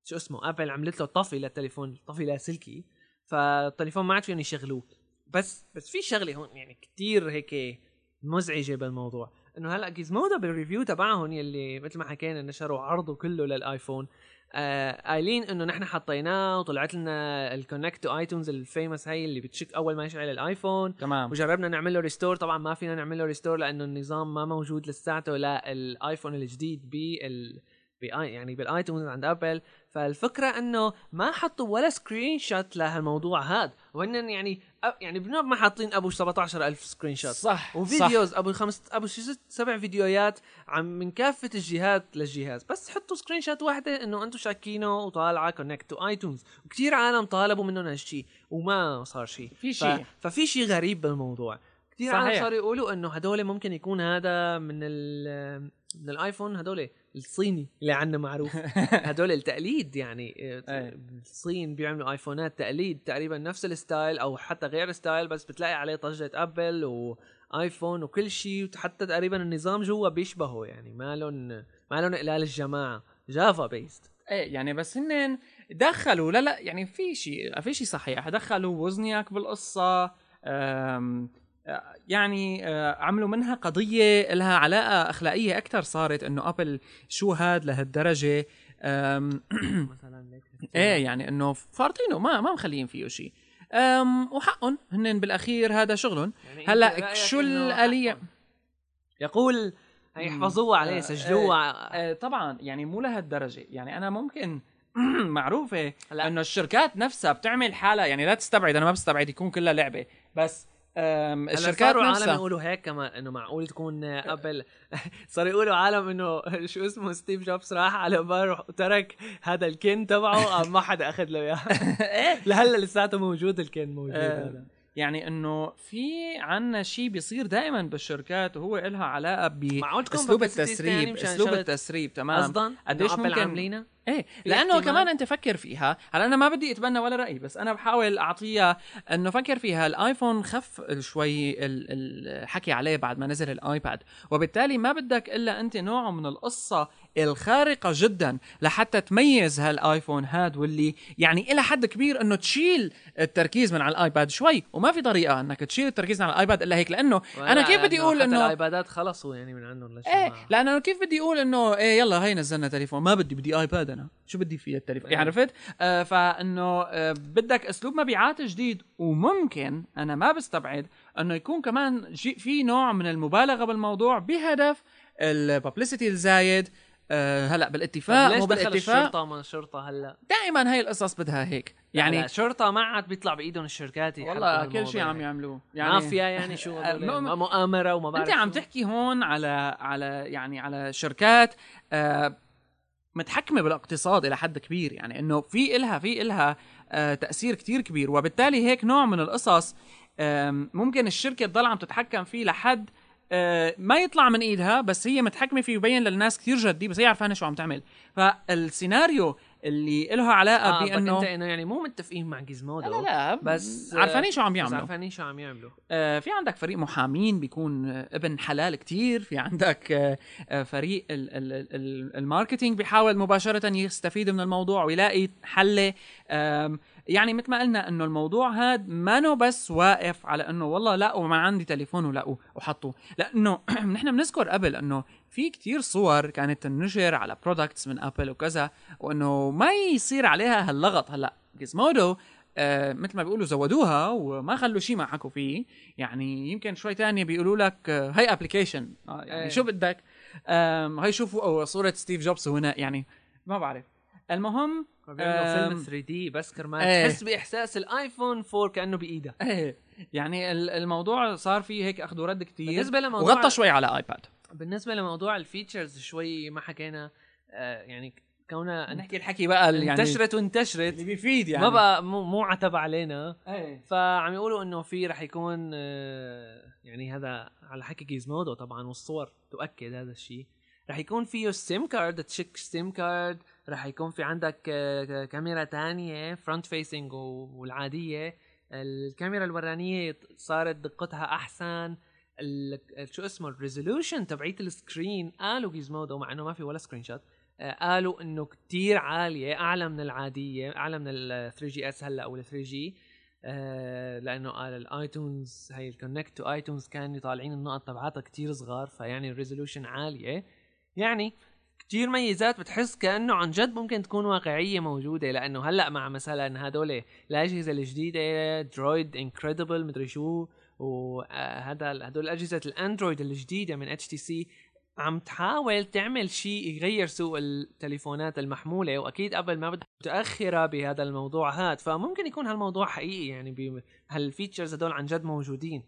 Speaker 2: شو اسمه ابل عملت له طفي للتليفون طفي لاسلكي فالتليفون ما عاد فيهم يشغلوه بس بس في شغله هون يعني كتير هيك مزعجه بالموضوع انه هلا جيزمودو بالريفيو تبعهم يلي مثل ما حكينا نشروا عرضه كله للايفون آه قايلين انه نحن حطيناه وطلعت لنا الكونكت تو ايتونز الفيمس هاي اللي بتشك اول ما يشعل الايفون
Speaker 1: تمام
Speaker 2: وجربنا نعمل له ريستور طبعا ما فينا نعمل له ريستور لانه النظام ما موجود لساته للايفون الجديد بال بآي- يعني بالايتونز عند ابل فالفكره انه ما حطوا ولا سكرين شوت لهالموضوع هاد وهن يعني أ- يعني بنوب ما حاطين ابو 17000 سكرين شوت
Speaker 1: صح
Speaker 2: وفيديوز ابو خمس ابو شي ست سبع فيديوهات عم من كافه الجهات للجهاز بس حطوا سكرين شوت واحده انه انتم شاكينه وطالعه كونكت تو ايتونز وكثير عالم طالبوا منهم هالشيء وما صار شيء
Speaker 1: في شي.
Speaker 2: ففي شيء غريب بالموضوع كثير
Speaker 1: صحيح.
Speaker 2: عالم صاروا يقولوا انه هدول ممكن يكون هذا من ال من الايفون هدول الصيني اللي عنا معروف هدول التقليد يعني
Speaker 1: إيه.
Speaker 2: الصين بيعملوا ايفونات تقليد تقريبا نفس الستايل او حتى غير ستايل بس بتلاقي عليه طجه ابل وايفون وكل شيء وحتى تقريبا النظام جوا بيشبهه يعني ما لهم ما لهم اقلال الجماعه جافا بيست
Speaker 1: ايه يعني بس هن دخلوا لا لا يعني في شيء في شيء صحيح دخلوا وزنياك بالقصه أم آه، يعني آه، عملوا منها قضيه لها علاقه اخلاقيه اكثر صارت انه ابل شو هاد لهالدرجه أم،
Speaker 2: إيه. مثلا هيك.
Speaker 1: ايه يعني انه فارطينه ما ما مخليين فيه شيء أم، وحقهم هن بالاخير هذا شغلهم
Speaker 2: يعني أنت
Speaker 1: هلا
Speaker 2: رأيك
Speaker 1: شو
Speaker 2: إنه
Speaker 1: الآلية؟
Speaker 2: يقول هي احفظوها
Speaker 1: آه،
Speaker 2: عليه سجلوها
Speaker 1: آه، طبعا يعني مو لهالدرجه يعني انا ممكن معروفه
Speaker 2: هلا.
Speaker 1: انه الشركات نفسها بتعمل حالها يعني لا تستبعد انا ما بستبعد يكون كلها لعبه بس أم
Speaker 2: هلا
Speaker 1: الشركات
Speaker 2: صاروا عالم
Speaker 1: نفسها
Speaker 2: يقولوا هيك كمان انه معقول تكون ابل صاروا يقولوا عالم انه شو اسمه ستيف جوبز راح على بار وترك هذا الكن تبعه قام ما حدا اخذ له اياه لهلا لساته موجود الكن موجود
Speaker 1: إيه؟ آه.
Speaker 2: هذا
Speaker 1: يعني انه في عنا شيء بيصير دائما بالشركات وهو إلها علاقه
Speaker 2: معقول تكون
Speaker 1: باسلوب
Speaker 2: publicity يعني
Speaker 1: التسريب
Speaker 2: مشان
Speaker 1: اسلوب
Speaker 2: شغلة-
Speaker 1: التسريب تمام
Speaker 2: قصدا
Speaker 1: قديش
Speaker 2: إنه أبل
Speaker 1: ممكن-
Speaker 2: عاملينها
Speaker 1: ايه
Speaker 2: في
Speaker 1: لانه
Speaker 2: احتمال؟
Speaker 1: كمان انت فكر فيها هلا انا ما بدي اتبنى ولا راي بس انا بحاول اعطيها انه فكر فيها الايفون خف شوي ال- الحكي عليه بعد ما نزل الايباد وبالتالي ما بدك الا انت نوع من القصه الخارقه جدا لحتى تميز هالايفون هاد واللي يعني الى حد كبير انه تشيل التركيز من على الايباد شوي وما في طريقه انك تشيل التركيز من على الايباد الا هيك لانه انا كيف بدي اقول
Speaker 2: حتى
Speaker 1: انه
Speaker 2: الايبادات خلصوا يعني من عندهم
Speaker 1: ايه لانه كيف بدي اقول انه ايه يلا هي نزلنا تليفون ما بدي بدي ايباد انا شو بدي فيه التليفون
Speaker 2: إيه.
Speaker 1: يعني عرفت آه فانه آه بدك اسلوب مبيعات جديد وممكن انا ما بستبعد انه يكون كمان جي- في نوع من المبالغه بالموضوع بهدف الببليستي الزايد آه هلا بالاتفاق
Speaker 2: ليش
Speaker 1: مو
Speaker 2: دخل
Speaker 1: بالاتفاق
Speaker 2: الشرطه ما الشرطه هلا
Speaker 1: دائما هي القصص بدها هيك يعني
Speaker 2: لا، الشرطه ما عاد بيطلع بايدهم الشركات يحلوا
Speaker 1: والله كل
Speaker 2: هالموضوع
Speaker 1: شيء عم
Speaker 2: يعني.
Speaker 1: يعملوه
Speaker 2: مافيا يعني شو
Speaker 1: آه،
Speaker 2: هدول؟
Speaker 1: مو-
Speaker 2: مؤامره وما بعرف
Speaker 1: انت عم
Speaker 2: شو.
Speaker 1: تحكي هون على على يعني على شركات آه متحكمه بالاقتصاد الى حد كبير يعني انه في الها في الها آه، تاثير كتير كبير وبالتالي هيك نوع من القصص آم، ممكن الشركه تضل عم تتحكم فيه لحد آه، ما يطلع من ايدها بس هي متحكمه فيه ويبين للناس كتير جدي بس هي عرفانه شو عم تعمل فالسيناريو اللي إلها علاقه
Speaker 2: آه بأنه...
Speaker 1: بانه
Speaker 2: انت انه يعني مو متفقين مع جيزمودو
Speaker 1: لا لا
Speaker 2: بس-
Speaker 1: بس عارفانين شو عم
Speaker 2: بس
Speaker 1: يعملوا
Speaker 2: عارفانين شو عم يعملوا
Speaker 1: آه، في عندك فريق محامين بيكون آه، ابن حلال كتير في عندك آه، آه، فريق ال- ال- ال- ال- الماركتينج بيحاول مباشرة يستفيد من الموضوع ويلاقي حلة آم، يعني مثل ما قلنا انه الموضوع هاد مانو بس واقف على انه والله لقوا ما عندي تليفون ولقوا وحطوا لانه نحن بنذكر قبل انه في كتير صور كانت تنشر على برودكتس من ابل وكذا وانه ما يصير عليها هاللغط هلا جيزمودو آه مثل ما بيقولوا زودوها وما خلوا شيء ما حكوا فيه يعني يمكن شوي تاني بيقولوا لك آه هاي ابلكيشن آه يعني
Speaker 2: إيه.
Speaker 1: شو بدك آم، هاي شوفوا أو صوره ستيف جوبز هنا يعني ما بعرف المهم
Speaker 2: بيعملوا
Speaker 1: أم.
Speaker 2: فيلم 3 دي بس كرمال
Speaker 1: إيه.
Speaker 2: تحس باحساس الايفون 4 كانه بايدك
Speaker 1: ايه يعني ال- الموضوع صار فيه هيك اخذ ورد كتير
Speaker 2: بالنسبه لموضوع
Speaker 1: وغطى شوي على ايباد
Speaker 2: بالنسبه لموضوع الفيتشرز شوي ما حكينا آه يعني كونها انت-
Speaker 1: نحكي الحكي بقى ال- يعني
Speaker 2: انتشرت وانتشرت
Speaker 1: اللي بيفيد يعني
Speaker 2: ما بقى مو, مو عتب علينا
Speaker 1: ايه
Speaker 2: فعم يقولوا انه في رح يكون آه، يعني هذا على حكي جيزمودو طبعا والصور تؤكد هذا الشيء رح يكون فيه السيم كارد تشيك سيم كارد رح يكون في عندك آه، كاميرا تانية فرونت فيسنج والعادية الكاميرا الورانية صارت دقتها احسن ال- شو اسمه الريزولوشن تبعية السكرين قالوا جيزمودو مع انه ما في ولا سكرين شوت آه، قالوا انه كتير عالية اعلى من العادية اعلى من ال 3 جي اس هلا او ال 3 جي آه، لانه قال الايتونز هي الكونكت تو ايتونز كانوا طالعين النقط تبعاتها كتير صغار فيعني الريزولوشن عاليه يعني كتير ميزات بتحس كانه عن جد ممكن تكون واقعيه موجوده لانه هلا مع مثلا هدول الاجهزه الجديده درويد انكريدبل مدري شو وهذا هدول اجهزه الاندرويد الجديده من اتش تي سي عم تحاول تعمل شيء يغير سوق التليفونات المحموله واكيد قبل ما بدها متاخره بهذا الموضوع هاد فممكن يكون هالموضوع حقيقي يعني بي- هالفيتشرز هدول عن جد موجودين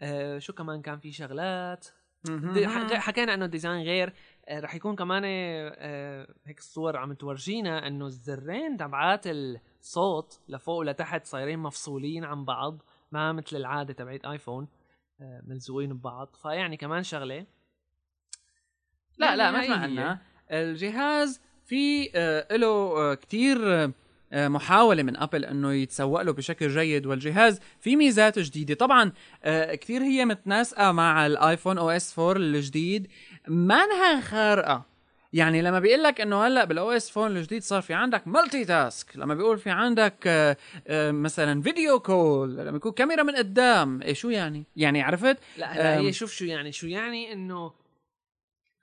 Speaker 2: آه شو كمان كان في شغلات دي- ح- غ- حكينا انه الديزاين غير آه رح يكون كمان آه هيك الصور عم تورجينا انه الزرين تبعات الصوت لفوق ولتحت صايرين مفصولين عن بعض ما مثل العاده تبعت ايفون آه ملزوقين ببعض فيعني كمان شغله
Speaker 1: لا لا
Speaker 2: يعني
Speaker 1: ما
Speaker 2: هاي
Speaker 1: اسمع
Speaker 2: هي.
Speaker 1: عنا الجهاز في آه، له آه، كتير آه، آه، محاولة من أبل أنه يتسوق له بشكل جيد والجهاز في ميزات جديدة طبعا آه، كتير هي متناسقة مع الآيفون أو اس 4 الجديد مانها خارقة يعني لما بيقول لك انه هلا بالاو اس فون الجديد صار في عندك مالتي تاسك لما بيقول في عندك آه، آه، مثلا فيديو كول لما يكون كاميرا من قدام إيه شو يعني يعني عرفت
Speaker 2: لا هلا
Speaker 1: أم.
Speaker 2: هي شوف شو يعني شو يعني انه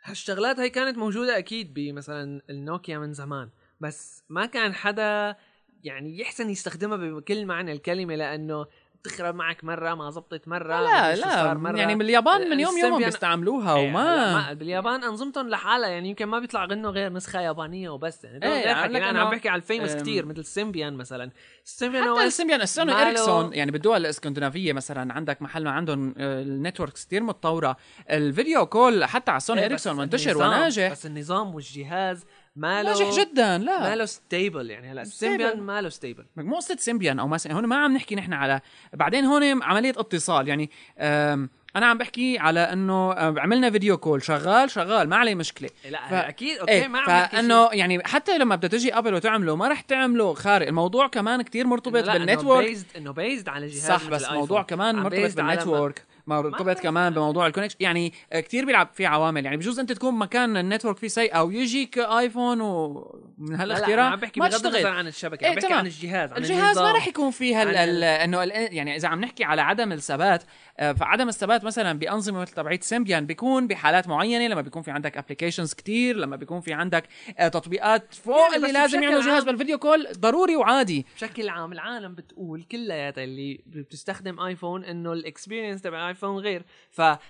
Speaker 2: هالشغلات هي كانت موجوده اكيد بمثلا النوكيا من زمان بس ما كان حدا يعني يحسن يستخدمها بكل معنى الكلمه لانه بتخرب معك مره ما زبطت مره
Speaker 1: لا
Speaker 2: مدري شو صار
Speaker 1: لا
Speaker 2: مرة.
Speaker 1: يعني من اليابان من يوم يومهم
Speaker 2: السيمبيان-
Speaker 1: بيستعملوها
Speaker 2: إيه، هلا
Speaker 1: وما
Speaker 2: ما باليابان انظمتهم لحالها يعني يمكن ما بيطلع غنوا غير نسخه يابانيه وبس يعني
Speaker 1: إيه،
Speaker 2: غير
Speaker 1: عم
Speaker 2: حكي.
Speaker 1: لك
Speaker 2: انا
Speaker 1: إنه-
Speaker 2: عم بحكي على الفيموس
Speaker 1: أم.
Speaker 2: كتير مثل سيمبيان مثلا سيمبيان
Speaker 1: حتى السيمبيان السون
Speaker 2: ماله-
Speaker 1: اريكسون يعني بالدول الاسكندنافيه مثلا عندك محل ما عندهم آه، النتوركس كثير متطوره الفيديو كول حتى على السون
Speaker 2: إيه، بس
Speaker 1: اريكسون منتشر
Speaker 2: النظام-
Speaker 1: وناجح
Speaker 2: بس النظام والجهاز ماله
Speaker 1: ناجح جدا لا
Speaker 2: ماله ستيبل يعني هلا
Speaker 1: ستيبل.
Speaker 2: سيمبيان ماله ستيبل
Speaker 1: مو قصه سيمبيان او مثلا هون ما عم نحكي نحن على بعدين هون عمليه اتصال يعني آم، انا عم بحكي على انه آم، عملنا فيديو كول شغال شغال ما عليه مشكله
Speaker 2: لا
Speaker 1: ف-
Speaker 2: ف... اكيد اوكي
Speaker 1: ايه
Speaker 2: ما عم نحكي شيء.
Speaker 1: فانه يعني حتى لما بدها تجي ابل وتعمله ما رح تعمله خارق الموضوع كمان كتير مرتبط
Speaker 2: إنه لا، إنه
Speaker 1: بالنتورك
Speaker 2: based- انه بيزد على جهاز
Speaker 1: صح
Speaker 2: مثل
Speaker 1: بس
Speaker 2: الآيفون.
Speaker 1: الموضوع كمان
Speaker 2: عم
Speaker 1: مرتبط
Speaker 2: based على ما-
Speaker 1: بالنتورك مرتبط
Speaker 2: ما-
Speaker 1: كمان بموضوع الكونكشن يعني آه، كتير بيلعب في عوامل يعني بجوز انت تكون مكان النتورك فيه سيء او يجيك ايفون ومن
Speaker 2: لا لا أنا
Speaker 1: هالاختراع
Speaker 2: عم بحكي
Speaker 1: ما
Speaker 2: بغض النظر
Speaker 1: تشتغل
Speaker 2: عن الشبكه
Speaker 1: إيه،
Speaker 2: عم بحكي
Speaker 1: تمام.
Speaker 2: عن الجهاز عن
Speaker 1: الجهاز ما
Speaker 2: النظام.
Speaker 1: رح يكون فيه هال
Speaker 2: عن
Speaker 1: ال-
Speaker 2: ال-
Speaker 1: انه ال- يعني اذا عم نحكي على عدم الثبات آه، فعدم الثبات مثلا بانظمه مثل تبعت سيمبيان بيكون بحالات معينه لما بيكون في عندك ابلكيشنز كتير لما بيكون في عندك آه، تطبيقات فوق
Speaker 2: يعني
Speaker 1: اللي
Speaker 2: بس
Speaker 1: لازم
Speaker 2: بشكل
Speaker 1: يعملوا جهاز
Speaker 2: عام-
Speaker 1: بالفيديو كول ضروري وعادي
Speaker 2: بشكل عام العالم بتقول كلياتها اللي بتستخدم ايفون انه الاكسبيرينس تبع ايفون غير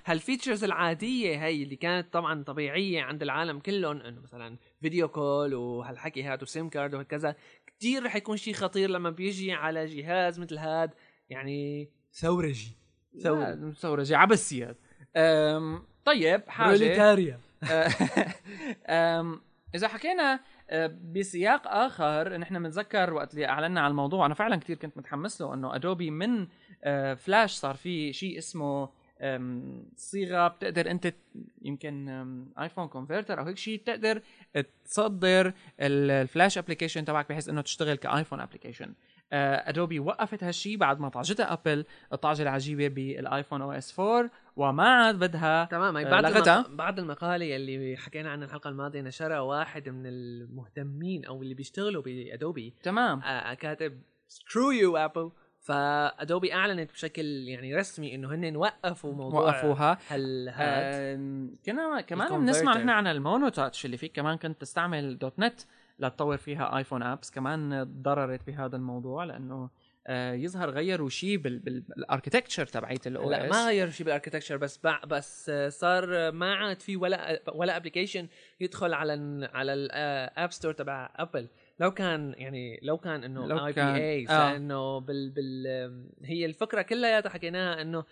Speaker 2: فهالفيتشرز العاديه هي اللي كانت طبعا طبيعيه عند العالم كلهم انه مثلا فيديو كول وهالحكي هاد وسيم كارد وهكذا كتير رح يكون شيء خطير لما بيجي على جهاز مثل هاد يعني ثورجي ثورة.
Speaker 1: ثورة ثورة جي عبسية أم، طيب حاجة
Speaker 2: بروليتاريا
Speaker 1: أم، اذا حكينا آه، بسياق اخر نحن بنتذكر وقت اللي اعلنا على الموضوع انا فعلا كثير كنت متحمس له انه ادوبي من آه، فلاش صار في شيء اسمه آم، صيغه بتقدر انت ت- يمكن آم، ايفون كونفرتر او هيك شيء بتقدر تصدر ال- الفلاش ابلكيشن تبعك بحيث انه تشتغل كايفون ابلكيشن ادوبي وقفت هالشيء بعد ما طعجتها ابل الطعجه العجيبه بالايفون او اس 4 وما عاد بدها
Speaker 2: تمام هي
Speaker 1: آه،
Speaker 2: بعد
Speaker 1: لغتها.
Speaker 2: المق... بعد المقاله اللي حكينا عنها الحلقه الماضيه نشرها واحد من المهتمين او اللي بيشتغلوا بادوبي
Speaker 1: تمام
Speaker 2: آه، كاتب سكرو يو ابل فادوبي اعلنت بشكل يعني رسمي انه هن وقفوا موضوع
Speaker 1: وقفوها
Speaker 2: هل هاد
Speaker 1: آم، كنا كمان
Speaker 2: الconverter.
Speaker 1: بنسمع نحن عن المونو تاتش اللي فيك كمان كنت تستعمل دوت نت لتطور فيها ايفون ابس كمان ضررت بهذا الموضوع لانه آه، يظهر غيروا شيء بالاركتكتشر تبعت الاو
Speaker 2: لا ما
Speaker 1: اس
Speaker 2: غير شيء بالاركتكتشر بس بع بس آه، صار آه، ما عاد في ولا ولا ابلكيشن يدخل على ال على الاب ستور تبع ابل لو كان يعني لو كان
Speaker 1: لو
Speaker 2: انه اي بي
Speaker 1: كان-
Speaker 2: اي
Speaker 1: آه.
Speaker 2: لانه بال بال آم، هي الفكره كلياتها حكيناها انه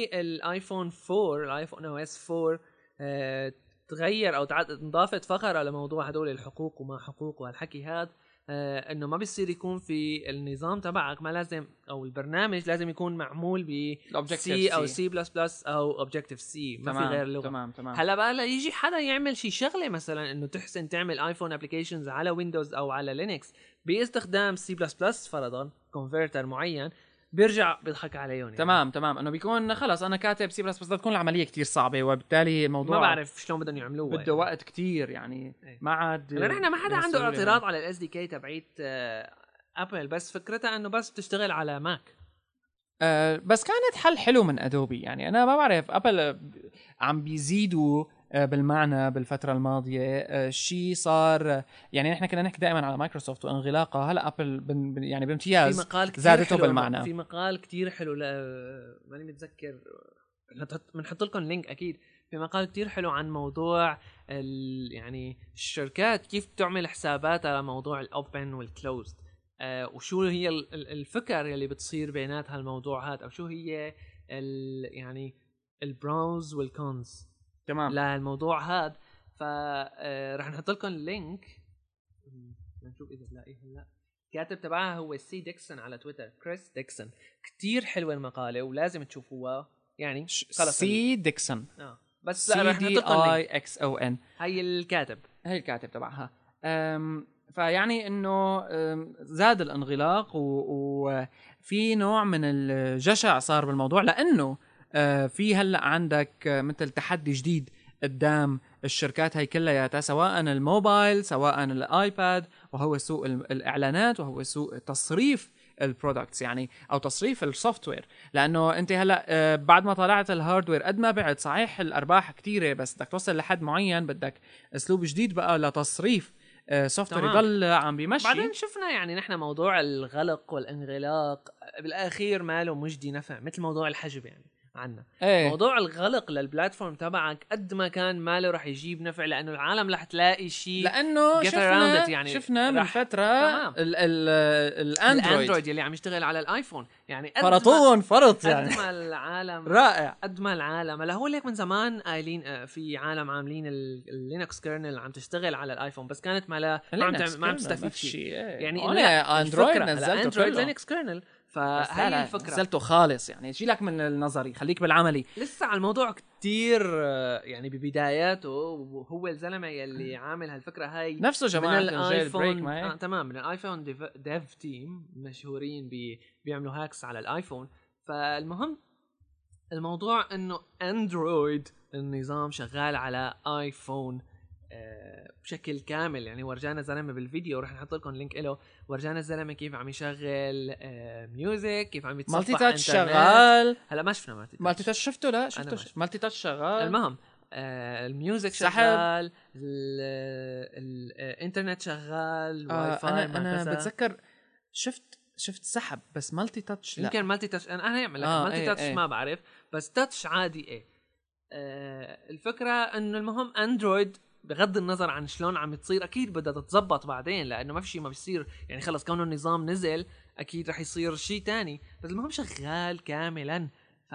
Speaker 2: بالايفون 4 الايفون او اس 4 آه، تغير او تعد- انضافت فقره لموضوع هدول الحقوق وما حقوق وهالحكي هذا آه، انه ما بيصير يكون في النظام تبعك ما لازم او البرنامج لازم يكون معمول ب سي او سي بلس بلس او اوبجيكتيف سي ما في غير لغه
Speaker 1: تمام تمام
Speaker 2: هلا بقى لا يجي حدا يعمل شي شغله مثلا انه تحسن تعمل ايفون ابلكيشنز على ويندوز او على لينكس باستخدام سي بلس بلس فرضا كونفرتر معين بيرجع بيضحك عليهم يعني.
Speaker 1: تمام تمام انه بيكون خلص انا كاتب سي بلس بس بدها تكون العمليه كتير صعبه وبالتالي الموضوع
Speaker 2: ما بعرف شلون بدهم يعملوها
Speaker 1: بده وقت كتير يعني
Speaker 2: إيه.
Speaker 1: ما عاد
Speaker 2: هلا نحن ما حدا
Speaker 1: بنفس
Speaker 2: عنده
Speaker 1: السهولة
Speaker 2: اعتراض على الاس دي كي تبعت آه، ابل بس فكرتها انه بس بتشتغل على ماك
Speaker 1: آه، بس كانت حل حلو من ادوبي يعني انا ما بعرف ابل آه، عم بيزيدوا آه، بالمعنى بالفترة الماضية آه، شيء صار آه، يعني نحن كنا نحكي دائما على مايكروسوفت وانغلاقها هلا ابل بن بن- يعني
Speaker 2: في
Speaker 1: بامتياز
Speaker 2: مقال كثير
Speaker 1: زادته
Speaker 2: حلو
Speaker 1: بالمعنى.
Speaker 2: في مقال كثير حلو لا ماني متذكر نحط- بنحط لكم لينك اكيد في مقال كثير حلو عن موضوع ال يعني الشركات كيف بتعمل حساباتها لموضوع الاوبن والكلوزد آه وشو هي ال- ال- الفكر يلي بتصير بينات هالموضوع هذا او شو هي ال يعني البروز والكونز
Speaker 1: تمام
Speaker 2: للموضوع هذا فرح آه، نحط لكم اللينك نشوف اذا بلاقيه هلا الكاتب تبعها هو سي ديكسون على تويتر كريس ديكسون كتير حلوه المقاله ولازم تشوفوها يعني خلص
Speaker 1: سي ديكسون
Speaker 2: آه. بس لا
Speaker 1: سي
Speaker 2: رح نحط
Speaker 1: دي
Speaker 2: لكم
Speaker 1: اي
Speaker 2: اللينك
Speaker 1: اكس او ان
Speaker 2: هي الكاتب
Speaker 1: هي الكاتب تبعها أم، فيعني انه أم، زاد الانغلاق وفي نوع من الجشع صار بالموضوع لانه أه، في هلا عندك أه، مثل تحدي جديد قدام الشركات هي كلياتها سواء الموبايل سواء الايباد وهو سوق ال- الاعلانات وهو سوق تصريف البرودكتس يعني او تصريف السوفت وير لانه انت هلا آه، بعد ما طلعت الهاردوير قد ما بعت صحيح الارباح كتيره بس بدك توصل لحد معين بدك اسلوب جديد بقى لتصريف سوفت وير
Speaker 2: تمام.
Speaker 1: يضل عم بيمشي
Speaker 2: بعدين شفنا يعني نحن موضوع الغلق والانغلاق بالاخير ماله مجدي نفع مثل موضوع الحجب يعني عنا
Speaker 1: ايه
Speaker 2: موضوع الغلق للبلاتفورم تبعك قد ما كان ماله رح يجيب نفع لانه العالم رح تلاقي شيء
Speaker 1: لانه
Speaker 2: get
Speaker 1: شفنا
Speaker 2: around it يعني
Speaker 1: شفنا من
Speaker 2: رح-
Speaker 1: فتره
Speaker 2: تمام.
Speaker 1: ال ال الاندرويد
Speaker 2: الاندرويد يلي عم يشتغل على الايفون يعني قد ما-
Speaker 1: فرطون فرط
Speaker 2: قد
Speaker 1: يعني
Speaker 2: ما العالم
Speaker 1: رائع
Speaker 2: قد ما العالم هلا هو ليك من زمان قايلين آه، في عالم عاملين ال- اللينكس كيرنل عم تشتغل على الايفون بس كانت ما لا ما عم تعمل- ما عم تستفيد شيء يعني
Speaker 1: يعني
Speaker 2: إنه لا،
Speaker 1: انا اندرويد
Speaker 2: الفكرة،
Speaker 1: نزلته
Speaker 2: هلا اندرويد
Speaker 1: كله.
Speaker 2: لينكس كيرنل
Speaker 1: بس لا
Speaker 2: فهي
Speaker 1: لا،
Speaker 2: الفكره
Speaker 1: نزلته خالص يعني شيلك من النظري خليك بالعملي
Speaker 2: لسه على الموضوع كتير آه، يعني ببداياته وهو الزلمه يلي عامل هالفكره هاي
Speaker 1: نفسه
Speaker 2: من
Speaker 1: جماعه الجيل بريك
Speaker 2: الايفون
Speaker 1: ما
Speaker 2: آه
Speaker 1: هيك؟
Speaker 2: تمام من الايفون ديف, ديف تيم مشهورين بي بيعملوا هاكس على الايفون فالمهم الموضوع انه اندرويد النظام شغال على ايفون آه، بشكل كامل يعني ورجانا زلمه بالفيديو رح نحط لكم لينك له ورجانا الزلمه كيف عم يشغل آه، ميوزك كيف عم يتصفح
Speaker 1: مالتي تاتش
Speaker 2: إنترنت.
Speaker 1: شغال
Speaker 2: هلا ما شفنا مالتي تاتش
Speaker 1: مالتي تاتش شفته لا شفته
Speaker 2: ما
Speaker 1: ش-
Speaker 2: شفته.
Speaker 1: مالتي تاتش شغال
Speaker 2: المهم آه الميوزك
Speaker 1: سحب.
Speaker 2: شغال ال- ال- الانترنت شغال واي
Speaker 1: آه
Speaker 2: فاي
Speaker 1: انا انا
Speaker 2: بتذكر
Speaker 1: بتذكر شفت شفت سحب بس مالتي تاتش لا
Speaker 2: يمكن مالتي تاتش انا انا يعمل لك
Speaker 1: آه،
Speaker 2: مالتي
Speaker 1: إيه،
Speaker 2: تاتش
Speaker 1: إيه.
Speaker 2: ما بعرف بس تاتش عادي ايه آه الفكره انه المهم اندرويد بغض النظر عن شلون عم تصير اكيد بدها تتزبط بعدين لانه ما في شيء ما بيصير يعني خلص كونه النظام نزل اكيد رح يصير شيء تاني بس المهم شغال كاملا ف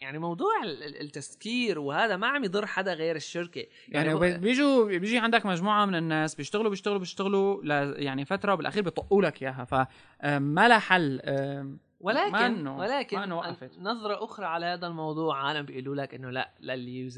Speaker 2: يعني موضوع ال- ال- التسكير وهذا ما عم يضر حدا غير الشركه
Speaker 1: يعني
Speaker 2: هو-
Speaker 1: وب- بيجوا بيجي عندك مجموعه من الناس بيشتغلوا بيشتغلوا بيشتغلوا ل... يعني فتره وبالاخير بيطقوا لك اياها فما لها حل آه، أم، ما
Speaker 2: ولكن
Speaker 1: إنه-
Speaker 2: ولكن
Speaker 1: ما إنه وقفت.
Speaker 2: نظره اخرى على هذا الموضوع عالم بيقولوا لك انه لا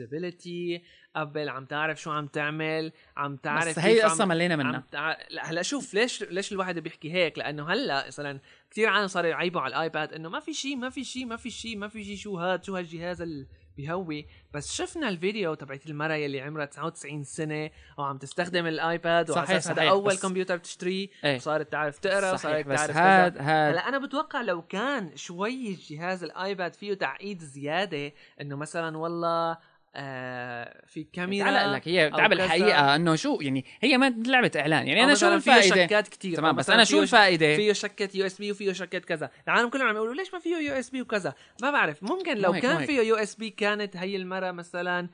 Speaker 2: لليوزابيلتي ابل عم تعرف شو عم تعمل عم تعرف
Speaker 1: بس
Speaker 2: كيف
Speaker 1: هي
Speaker 2: عم-
Speaker 1: قصه ملينا
Speaker 2: عم
Speaker 1: منها
Speaker 2: تع... لا هلا شوف ليش ليش الواحد بيحكي هيك لانه هلا مثلا كثير عالم صاروا يعيبوا على الايباد انه ما في شيء ما في شيء ما في شيء ما في شيء شو هاد شو هالجهاز اللي بيهوي بس شفنا الفيديو تبعت المرأة يلي عمرها 99 سنة وعم تستخدم الايباد وعلى
Speaker 1: صحيح،
Speaker 2: أساس هذا
Speaker 1: صحيح،
Speaker 2: أول
Speaker 1: بس-
Speaker 2: كمبيوتر بتشتريه
Speaker 1: إيه.
Speaker 2: وصارت تعرف تقرا
Speaker 1: صحيح
Speaker 2: وصارت
Speaker 1: بس
Speaker 2: تعرف
Speaker 1: هاد هاد
Speaker 2: هلا انا بتوقع لو كان شوي جهاز الايباد فيه تعقيد زياده انه مثلا والله آه في كاميرا
Speaker 1: تعال لك هي
Speaker 2: أو
Speaker 1: تعب
Speaker 2: كذا.
Speaker 1: الحقيقه انه شو يعني هي ما لعبه اعلان يعني
Speaker 2: أو
Speaker 1: انا شو
Speaker 2: مثلاً فيه
Speaker 1: الفائده
Speaker 2: شكات كتير
Speaker 1: تمام
Speaker 2: أو
Speaker 1: بس
Speaker 2: مثلاً
Speaker 1: انا شو
Speaker 2: فيه-
Speaker 1: الفائده
Speaker 2: فيه شكات يو اس بي وفيه شكات كذا العالم كلهم عم يقولوا ليش ما فيه يو اس بي وكذا ما بعرف ممكن لو
Speaker 1: مو هيك، مو
Speaker 2: كان
Speaker 1: هيك.
Speaker 2: فيه يو اس بي كانت هي المره مثلا م-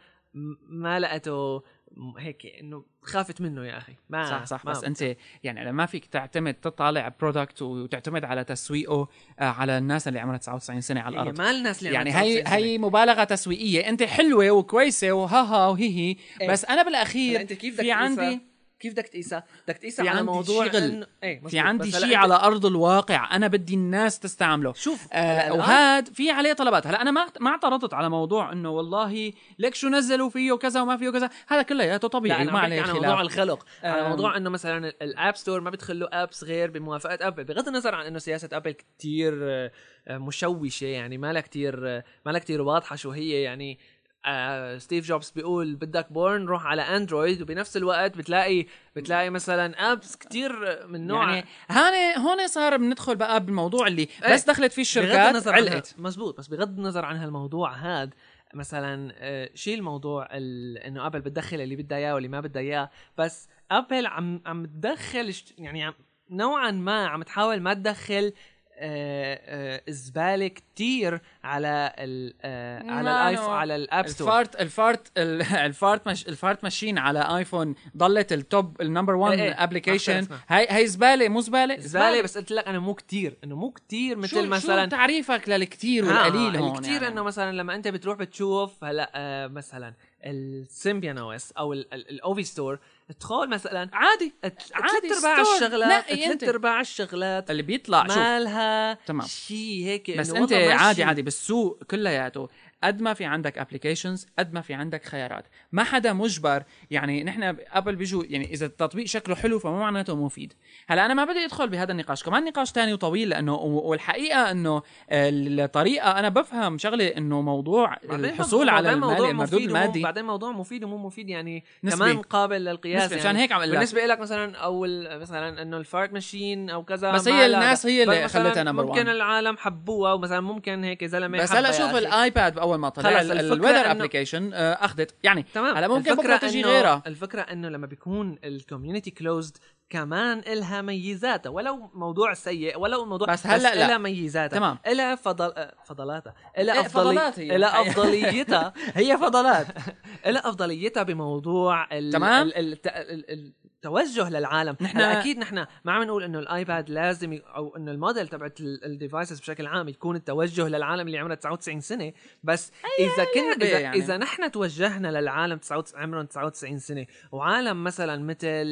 Speaker 2: ما لقته م- هيك انه خافت منه يا اخي ما
Speaker 1: صح صح
Speaker 2: ما
Speaker 1: بس انت يعني لما فيك تعتمد تطالع برودكت وتعتمد على تسويقه آه، على الناس اللي عمرها 99 سنه على
Speaker 2: هي
Speaker 1: الارض
Speaker 2: ما الناس اللي
Speaker 1: يعني
Speaker 2: عملت
Speaker 1: هي
Speaker 2: 99 سنة.
Speaker 1: هي مبالغه تسويقيه انت حلوه وكويسه وهاها وهي
Speaker 2: إيه.
Speaker 1: بس انا
Speaker 2: هلا
Speaker 1: بالاخير
Speaker 2: انت كيف
Speaker 1: في
Speaker 2: بدك تقيسها؟
Speaker 1: عندي
Speaker 2: كيف بدك تقيسها؟ بدك
Speaker 1: في
Speaker 2: تقيسها على
Speaker 1: عندي
Speaker 2: موضوع
Speaker 1: شغل.
Speaker 2: إنه- ايه مزبوط.
Speaker 1: في عندي
Speaker 2: بس هلا
Speaker 1: شيء
Speaker 2: أنت-
Speaker 1: على ارض الواقع انا بدي الناس تستعمله
Speaker 2: شوف
Speaker 1: آه
Speaker 2: هلا
Speaker 1: وهاد في عليه طلبات هلا انا ما ما اعترضت على موضوع انه والله ليك شو نزلوا فيه وكذا وما فيه وكذا هذا كلياته
Speaker 2: لا
Speaker 1: طبيعي
Speaker 2: انا
Speaker 1: وما
Speaker 2: عم بحكي
Speaker 1: عليه
Speaker 2: على موضوع
Speaker 1: خلاف
Speaker 2: الخلق على
Speaker 1: آم.
Speaker 2: موضوع انه مثلا ال- الاب ستور ما بتخلوا ابس غير بموافقه ابل بغض النظر عن انه سياسه ابل كتير آه، آه، مشوشه يعني ما لها كتير آه، ما لها كتير واضحه شو هي يعني آه، ستيف جوبز بيقول بدك بورن روح على اندرويد وبنفس الوقت بتلاقي بتلاقي مثلا ابس كتير من نوع إيه.
Speaker 1: يعني هون هون صار بندخل بقى بالموضوع اللي بس دخلت فيه
Speaker 2: بغض
Speaker 1: الشركات
Speaker 2: النظر عن
Speaker 1: علقت
Speaker 2: ه- مزبوط بس بغض النظر عن هالموضوع هاد مثلا آه، شيل موضوع ال... انه ابل بتدخل اللي بدها اياه واللي ما بدها اياه بس ابل عم عم تدخل ش- يعني عم نوعا ما عم تحاول ما تدخل آه، آه، زباله كتير على ال آه، على
Speaker 1: ما
Speaker 2: الايف
Speaker 1: نوع-
Speaker 2: على الاب ستور
Speaker 1: الفارت الفارت ال- الفارت مش الفارت ماشين على ايفون ضلت التوب النمبر 1
Speaker 2: إيه، إيه.
Speaker 1: ابلكيشن
Speaker 2: اختلفنا.
Speaker 1: هي هي زباله مو زباله
Speaker 2: زباله بس قلت لك انا مو كتير انه مو كتير
Speaker 1: شو
Speaker 2: مثل آه،
Speaker 1: مثلا
Speaker 2: مثلا
Speaker 1: شو تعريفك للكتير والقليل هون
Speaker 2: الكثير
Speaker 1: يعني؟
Speaker 2: انه مثلا لما انت بتروح بتشوف هلا آه مثلا السيمبيان او اس او الاوفي ستور تدخل مثلا
Speaker 1: عادي عادي
Speaker 2: ثلاث ارباع
Speaker 1: ستور.
Speaker 2: الشغلات
Speaker 1: نقي
Speaker 2: ثلاث
Speaker 1: أنت.
Speaker 2: ارباع الشغلات
Speaker 1: اللي بيطلع آه، شوف
Speaker 2: مالها
Speaker 1: تمام.
Speaker 2: شيء هيك
Speaker 1: بس
Speaker 2: إنه
Speaker 1: انت
Speaker 2: والله ما
Speaker 1: عادي
Speaker 2: شي.
Speaker 1: عادي بالسوق كلياته قد ما في عندك ابلكيشنز قد ما في عندك خيارات ما حدا مجبر يعني نحن ابل بيجوا يعني اذا التطبيق شكله حلو فما معناته مفيد هلا انا ما بدي ادخل بهذا النقاش كمان نقاش تاني وطويل لانه و- والحقيقه انه الطريقه انا بفهم شغله انه موضوع
Speaker 2: بعدين
Speaker 1: الحصول
Speaker 2: موضوع-
Speaker 1: على
Speaker 2: بعدين
Speaker 1: المال
Speaker 2: موضوع
Speaker 1: المردود
Speaker 2: مفيد ومو-
Speaker 1: المادي
Speaker 2: بعدين موضوع مفيد ومو مفيد يعني
Speaker 1: نسبي.
Speaker 2: كمان قابل للقياس
Speaker 1: نسبي،
Speaker 2: يعني
Speaker 1: عشان هيك عم أقول لك.
Speaker 2: بالنسبه لك مثلا او ال- مثلا انه الفارت ماشين او كذا
Speaker 1: بس
Speaker 2: ما
Speaker 1: هي
Speaker 2: لها-
Speaker 1: الناس هي
Speaker 2: بس
Speaker 1: اللي
Speaker 2: مثلاً
Speaker 1: خلتها number
Speaker 2: ممكن
Speaker 1: one.
Speaker 2: العالم حبوها ومثلا ممكن هيك زلمه
Speaker 1: بس
Speaker 2: حبها
Speaker 1: هلا
Speaker 2: يا
Speaker 1: شوف
Speaker 2: أخي.
Speaker 1: الايباد اول ما طلع
Speaker 2: خلص،
Speaker 1: ال-
Speaker 2: الفكرة
Speaker 1: الوذر
Speaker 2: إنه-
Speaker 1: ابلكيشن اخذت يعني
Speaker 2: تمام
Speaker 1: هلا ممكن
Speaker 2: الفكرة
Speaker 1: بكره تجي
Speaker 2: إنه-
Speaker 1: غيرها
Speaker 2: الفكره انه لما بيكون الكوميونتي كلوزد كمان إلها ميزاتها ولو موضوع سيء ولو موضوع
Speaker 1: بس هلا لا.
Speaker 2: إلها ميزاتها
Speaker 1: تمام.
Speaker 2: إلها فضل آه، فضلاتها
Speaker 1: إيه،
Speaker 2: إلها أفضلي
Speaker 1: فضلات هي. أيوه.
Speaker 2: إلها أفضليتها
Speaker 1: هي فضلات
Speaker 2: إلها أفضليتها بموضوع ال...
Speaker 1: تمام.
Speaker 2: ال... ال... الت- ال... ال... التوجه للعالم
Speaker 1: نحن-
Speaker 2: هلا اكيد نحن ما عم نقول انه الايباد لازم ي... او انه الموديل تبعت الديفايسز بشكل عام يكون التوجه للعالم اللي عمرها 99 سنه بس اذا كنا
Speaker 1: لعبة
Speaker 2: اذا,
Speaker 1: يعني.
Speaker 2: يعني. إذا نحن توجهنا للعالم 99 عمرهم 99 سنه وعالم مثلا مثل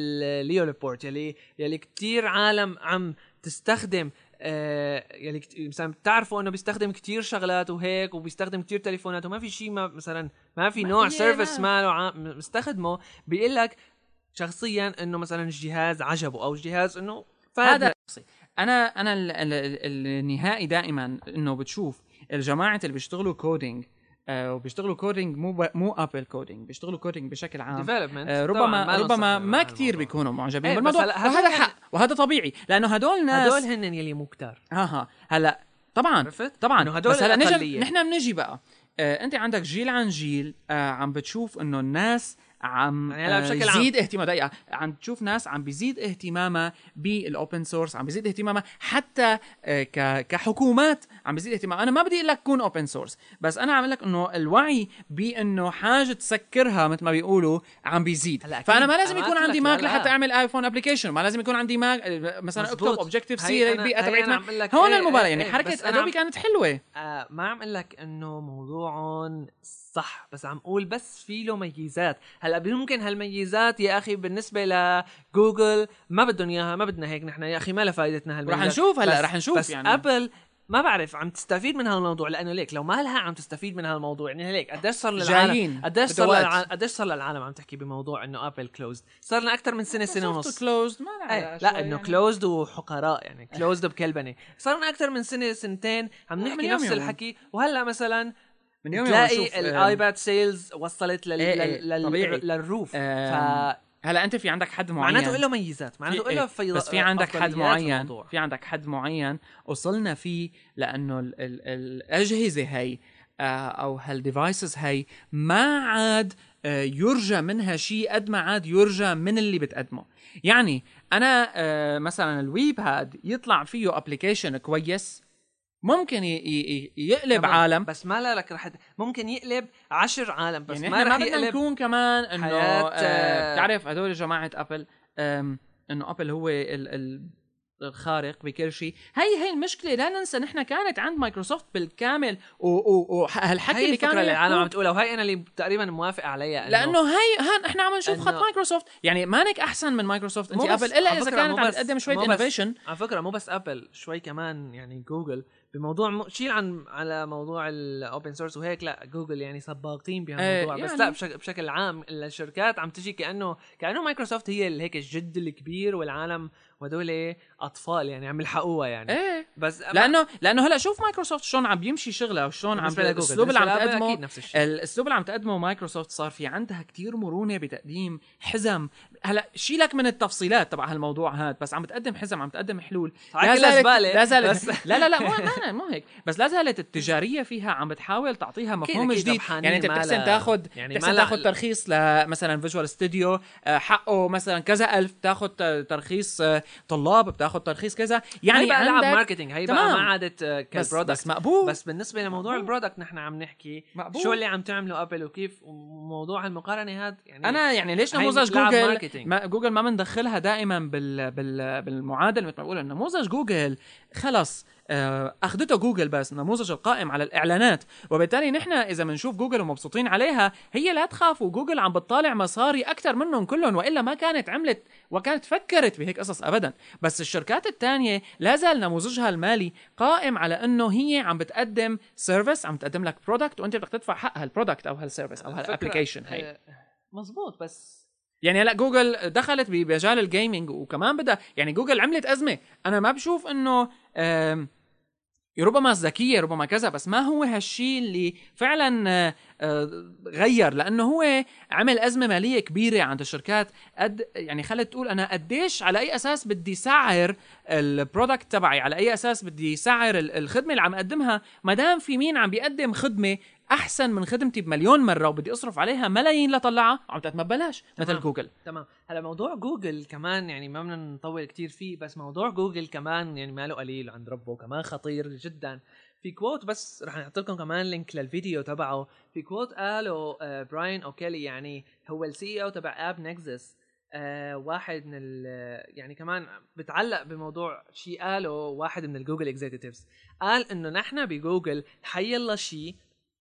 Speaker 2: ليو ليبورت يلي يلي كثير عالم عم تستخدم آه يلي كت- مثلا بتعرفوا انه بيستخدم كتير شغلات وهيك وبيستخدم كتير تليفونات وما في شيء ما مثلا ما في نوع
Speaker 1: في
Speaker 2: سيرفيس
Speaker 1: ناس.
Speaker 2: ماله عم- مستخدمه بيقول لك شخصيا انه مثلا الجهاز عجبه او الجهاز انه فادنا.
Speaker 1: هذا شخصي انا انا ال- ال- ال- النهائي دائما انه بتشوف الجماعه اللي بيشتغلوا كودينج آه، وبيشتغلوا كودينج مو ب- مو ابل كودينج بيشتغلوا كودينج بشكل عام
Speaker 2: Development.
Speaker 1: آه،
Speaker 2: طبعاً
Speaker 1: ربما
Speaker 2: ما
Speaker 1: ربما
Speaker 2: نصحنا
Speaker 1: ما
Speaker 2: عن
Speaker 1: كتير
Speaker 2: الموضوع.
Speaker 1: بيكونوا معجبين
Speaker 2: إيه، بس
Speaker 1: بالموضوع
Speaker 2: هلا هدول
Speaker 1: وهذا
Speaker 2: هن-
Speaker 1: حق وهذا طبيعي لانه هدول ناس
Speaker 2: هدول هن يلي مو كتار
Speaker 1: ها ها آه، هلا طبعا
Speaker 2: عرفت؟
Speaker 1: طبعا
Speaker 2: إنه هدول
Speaker 1: بس هلا نجم
Speaker 2: الأقلية.
Speaker 1: نحن بنجي بقى آه انت عندك جيل عن جيل آه عم بتشوف انه الناس عم
Speaker 2: يعني هلا
Speaker 1: آه،
Speaker 2: بشكل عام.
Speaker 1: يزيد اهتمام دقيقه عم تشوف ناس عم بيزيد اهتمامها بالاوبن سورس عم بيزيد اهتمامها حتى آه، ك- كحكومات عم بيزيد اهتمام انا ما بدي اقول لك كون اوبن سورس بس انا عم اقول لك انه الوعي بانه حاجه تسكرها مثل ما بيقولوا عم بيزيد
Speaker 2: هلا أكيد.
Speaker 1: فانا ما لازم
Speaker 2: أنا ما
Speaker 1: يكون
Speaker 2: قلت
Speaker 1: عندي
Speaker 2: لك
Speaker 1: ماك
Speaker 2: لا.
Speaker 1: لحتى اعمل ايفون ابلكيشن ما لازم يكون عندي ماك آه، مثلا اكتب
Speaker 2: مزبوط.
Speaker 1: اوبجيكتيف سي
Speaker 2: هي أنا-
Speaker 1: البيئه
Speaker 2: هي أنا عم
Speaker 1: تبعتنا
Speaker 2: أقول لك
Speaker 1: هون
Speaker 2: إيه،
Speaker 1: المبالغه
Speaker 2: إيه،
Speaker 1: يعني
Speaker 2: إيه، بس
Speaker 1: حركه
Speaker 2: أنا عم-
Speaker 1: ادوبي كانت حلوه
Speaker 2: آه ما عم اقول لك انه موضوعهم صح بس عم اقول بس في له ميزات هلا ممكن هالميزات يا اخي بالنسبه لجوجل ما بدهم اياها ما بدنا هيك نحن يا اخي ما لها فائدتنا هالميزات
Speaker 1: رح نشوف هلا
Speaker 2: بس-
Speaker 1: رح نشوف
Speaker 2: بس
Speaker 1: يعني.
Speaker 2: ابل ما بعرف عم تستفيد من هالموضوع لانه ليك لو ما لها عم تستفيد من هالموضوع يعني ليك قديش صار
Speaker 1: جايين
Speaker 2: للعالم قديش صار
Speaker 1: بدوات.
Speaker 2: للعالم قديش صار للعالم عم تحكي بموضوع انه ابل كلوزد صار لنا اكثر من سنه سنه ونص
Speaker 1: كلوزد ما لها
Speaker 2: ايه
Speaker 1: علاقة
Speaker 2: لا
Speaker 1: شوي
Speaker 2: انه
Speaker 1: يعني.
Speaker 2: كلوزد وحقراء يعني كلوزد بكلبنه صار لنا اكثر من سنه سنتين عم
Speaker 1: من
Speaker 2: نحكي
Speaker 1: يوم
Speaker 2: نفس
Speaker 1: يوم.
Speaker 2: الحكي وهلا مثلا
Speaker 1: من يوم يوم بشوف،
Speaker 2: تلاقي
Speaker 1: آه،
Speaker 2: الايباد سيلز وصلت لل
Speaker 1: إيه إيه،
Speaker 2: لل- لل-
Speaker 1: طبيعي.
Speaker 2: للروف
Speaker 1: آم،
Speaker 2: ف
Speaker 1: هلا انت في عندك حد معين
Speaker 2: معناته له ميزات معناته
Speaker 1: في-
Speaker 2: له
Speaker 1: إيه،
Speaker 2: فيض...
Speaker 1: بس في عندك حد
Speaker 2: أفضليات
Speaker 1: معين
Speaker 2: بالموضوع.
Speaker 1: في عندك حد معين وصلنا فيه لانه ال ال الاجهزه هي آه، او هالديفايسز هي ما عاد آه، يرجى منها شيء قد ما عاد يرجى من اللي بتقدمه يعني انا آه، مثلا الويب هاد يطلع فيه ابلكيشن كويس ممكن ي- ي- ي- يقلب
Speaker 2: تمام.
Speaker 1: عالم
Speaker 2: بس ما لا لك رح ممكن يقلب عشر عالم بس
Speaker 1: يعني
Speaker 2: ما
Speaker 1: احنا ما
Speaker 2: رح
Speaker 1: بدنا
Speaker 2: يقلب
Speaker 1: نكون كمان انه
Speaker 2: حياة،
Speaker 1: آه،
Speaker 2: آه،
Speaker 1: بتعرف هدول جماعه ابل آم، انه ابل هو ال ال الخارق بكل شيء هي هي المشكله لا ننسى نحن كانت عند مايكروسوفت بالكامل وهالحكي
Speaker 2: هي
Speaker 1: اللي كانوا
Speaker 2: الفكره اللي العالم
Speaker 1: يحكوه
Speaker 2: عم تقولها وهي انا اللي تقريبا موافق عليها إنه
Speaker 1: لانه هي هان احنا عم نشوف خط
Speaker 2: إنه-
Speaker 1: مايكروسوفت يعني مانك احسن من مايكروسوفت انت
Speaker 2: مو بس-
Speaker 1: ابل الا
Speaker 2: على
Speaker 1: اذا
Speaker 2: فكرة
Speaker 1: كانت
Speaker 2: مو
Speaker 1: عم
Speaker 2: بس-
Speaker 1: تقدم شويه
Speaker 2: مو بس-
Speaker 1: انوفيشن
Speaker 2: على فكره مو بس ابل شوي كمان يعني جوجل بموضوع مو شيل عن على موضوع الاوبن سورس وهيك لا جوجل يعني سباقين بهالموضوع
Speaker 1: إيه،
Speaker 2: بس
Speaker 1: يعني.
Speaker 2: لا بشك بشكل عام الشركات عم تجي كانه كانه مايكروسوفت هي اللي هيك الجد الكبير والعالم وهدول اطفال يعني عم يلحقوها يعني
Speaker 1: ايه
Speaker 2: بس أما-
Speaker 1: لانه لانه هلا شوف مايكروسوفت شلون عم بيمشي شغله وشلون عم
Speaker 2: بالنسبة لجوجل،
Speaker 1: الاسلوب اللي عم
Speaker 2: بالنسبة لأبل
Speaker 1: تقدمه
Speaker 2: اكيد نفس الشيء
Speaker 1: الاسلوب اللي عم تقدمه مايكروسوفت صار في عندها كتير مرونه بتقديم حزم هلا شيلك من التفصيلات تبع هالموضوع هاد بس عم بتقدم حزم عم بتقدم حلول
Speaker 2: صحيح كلها زبالة،
Speaker 1: إيه، لا زالت
Speaker 2: بس-
Speaker 1: لا لا لا مو لا لا مو هيك بس لا زالت التجاريه فيها عم بتحاول تعطيها مفهوم
Speaker 2: أكيد
Speaker 1: جديد
Speaker 2: ربحانية
Speaker 1: يعني انت
Speaker 2: ما
Speaker 1: بتحسن
Speaker 2: لها-
Speaker 1: تاخذ
Speaker 2: يعني
Speaker 1: يعني
Speaker 2: ما
Speaker 1: بتحسن
Speaker 2: لها-
Speaker 1: تاخذ ترخيص لمثلا فيجوال ستوديو آه، حقه مثلا كذا الف بتاخذ ترخيص آه، طلاب بتاخذ ترخيص كذا يعني
Speaker 2: هي بقى لعب
Speaker 1: عندك
Speaker 2: ماركتينج هي بقى
Speaker 1: تمام.
Speaker 2: ما عادت آه،
Speaker 1: بس,
Speaker 2: كالبرودكت
Speaker 1: بس مقبول
Speaker 2: بس بالنسبه لموضوع
Speaker 1: مقبول.
Speaker 2: البرودكت نحن عم نحكي
Speaker 1: مقبول.
Speaker 2: شو اللي عم تعمله ابل وكيف وموضوع المقارنه هذا يعني
Speaker 1: انا يعني ليش
Speaker 2: هاي
Speaker 1: نموذج
Speaker 2: لعب
Speaker 1: جوجل
Speaker 2: ماركتينج.
Speaker 1: ما جوجل ما بندخلها دائما بال بال بالمعادله مثل ما بقول نموذج جوجل خلص آه، اخذته جوجل بس النموذج القائم على الاعلانات وبالتالي نحن اذا بنشوف جوجل ومبسوطين عليها هي لا تخافوا جوجل عم بتطالع مصاري اكثر منهم كلهم والا ما كانت عملت وكانت فكرت بهيك قصص ابدا بس الشركات الثانيه لا زال نموذجها المالي قائم على انه هي عم بتقدم سيرفيس عم تقدم لك برودكت وانت بدك تدفع حق هالبرودكت او هالسيرفيس او
Speaker 2: الفكرة-
Speaker 1: هالابلكيشن هي
Speaker 2: آه، مزبوط بس
Speaker 1: يعني هلا جوجل دخلت بمجال الجيمنج وكمان بدها يعني جوجل عملت ازمه انا ما بشوف انه آم، ربما الذكيه ربما كذا بس ما هو هالشيء اللي فعلا آه، آه، غير لانه هو عمل ازمه ماليه كبيره عند الشركات قد يعني خلت تقول انا قديش على اي اساس بدي سعر البرودكت تبعي على اي اساس بدي سعر ال- الخدمه اللي عم اقدمها ما دام في مين عم بيقدم خدمه احسن من خدمتي بمليون مره وبدي اصرف عليها ملايين لطلعها عم تتم ببلاش مثل
Speaker 2: تمام.
Speaker 1: جوجل
Speaker 2: تمام هلا موضوع جوجل كمان يعني ما بدنا نطول كتير فيه بس موضوع جوجل كمان يعني ماله قليل عند ربه كمان خطير جدا في كوت بس رح نحط لكم كمان لينك للفيديو تبعه في كوت قاله آه براين اوكيلي يعني هو السي او تبع اب نكزس آه واحد من ال يعني كمان بتعلق بموضوع شيء قاله واحد من الجوجل اكزيكتيفز قال انه نحن بجوجل حي الله شيء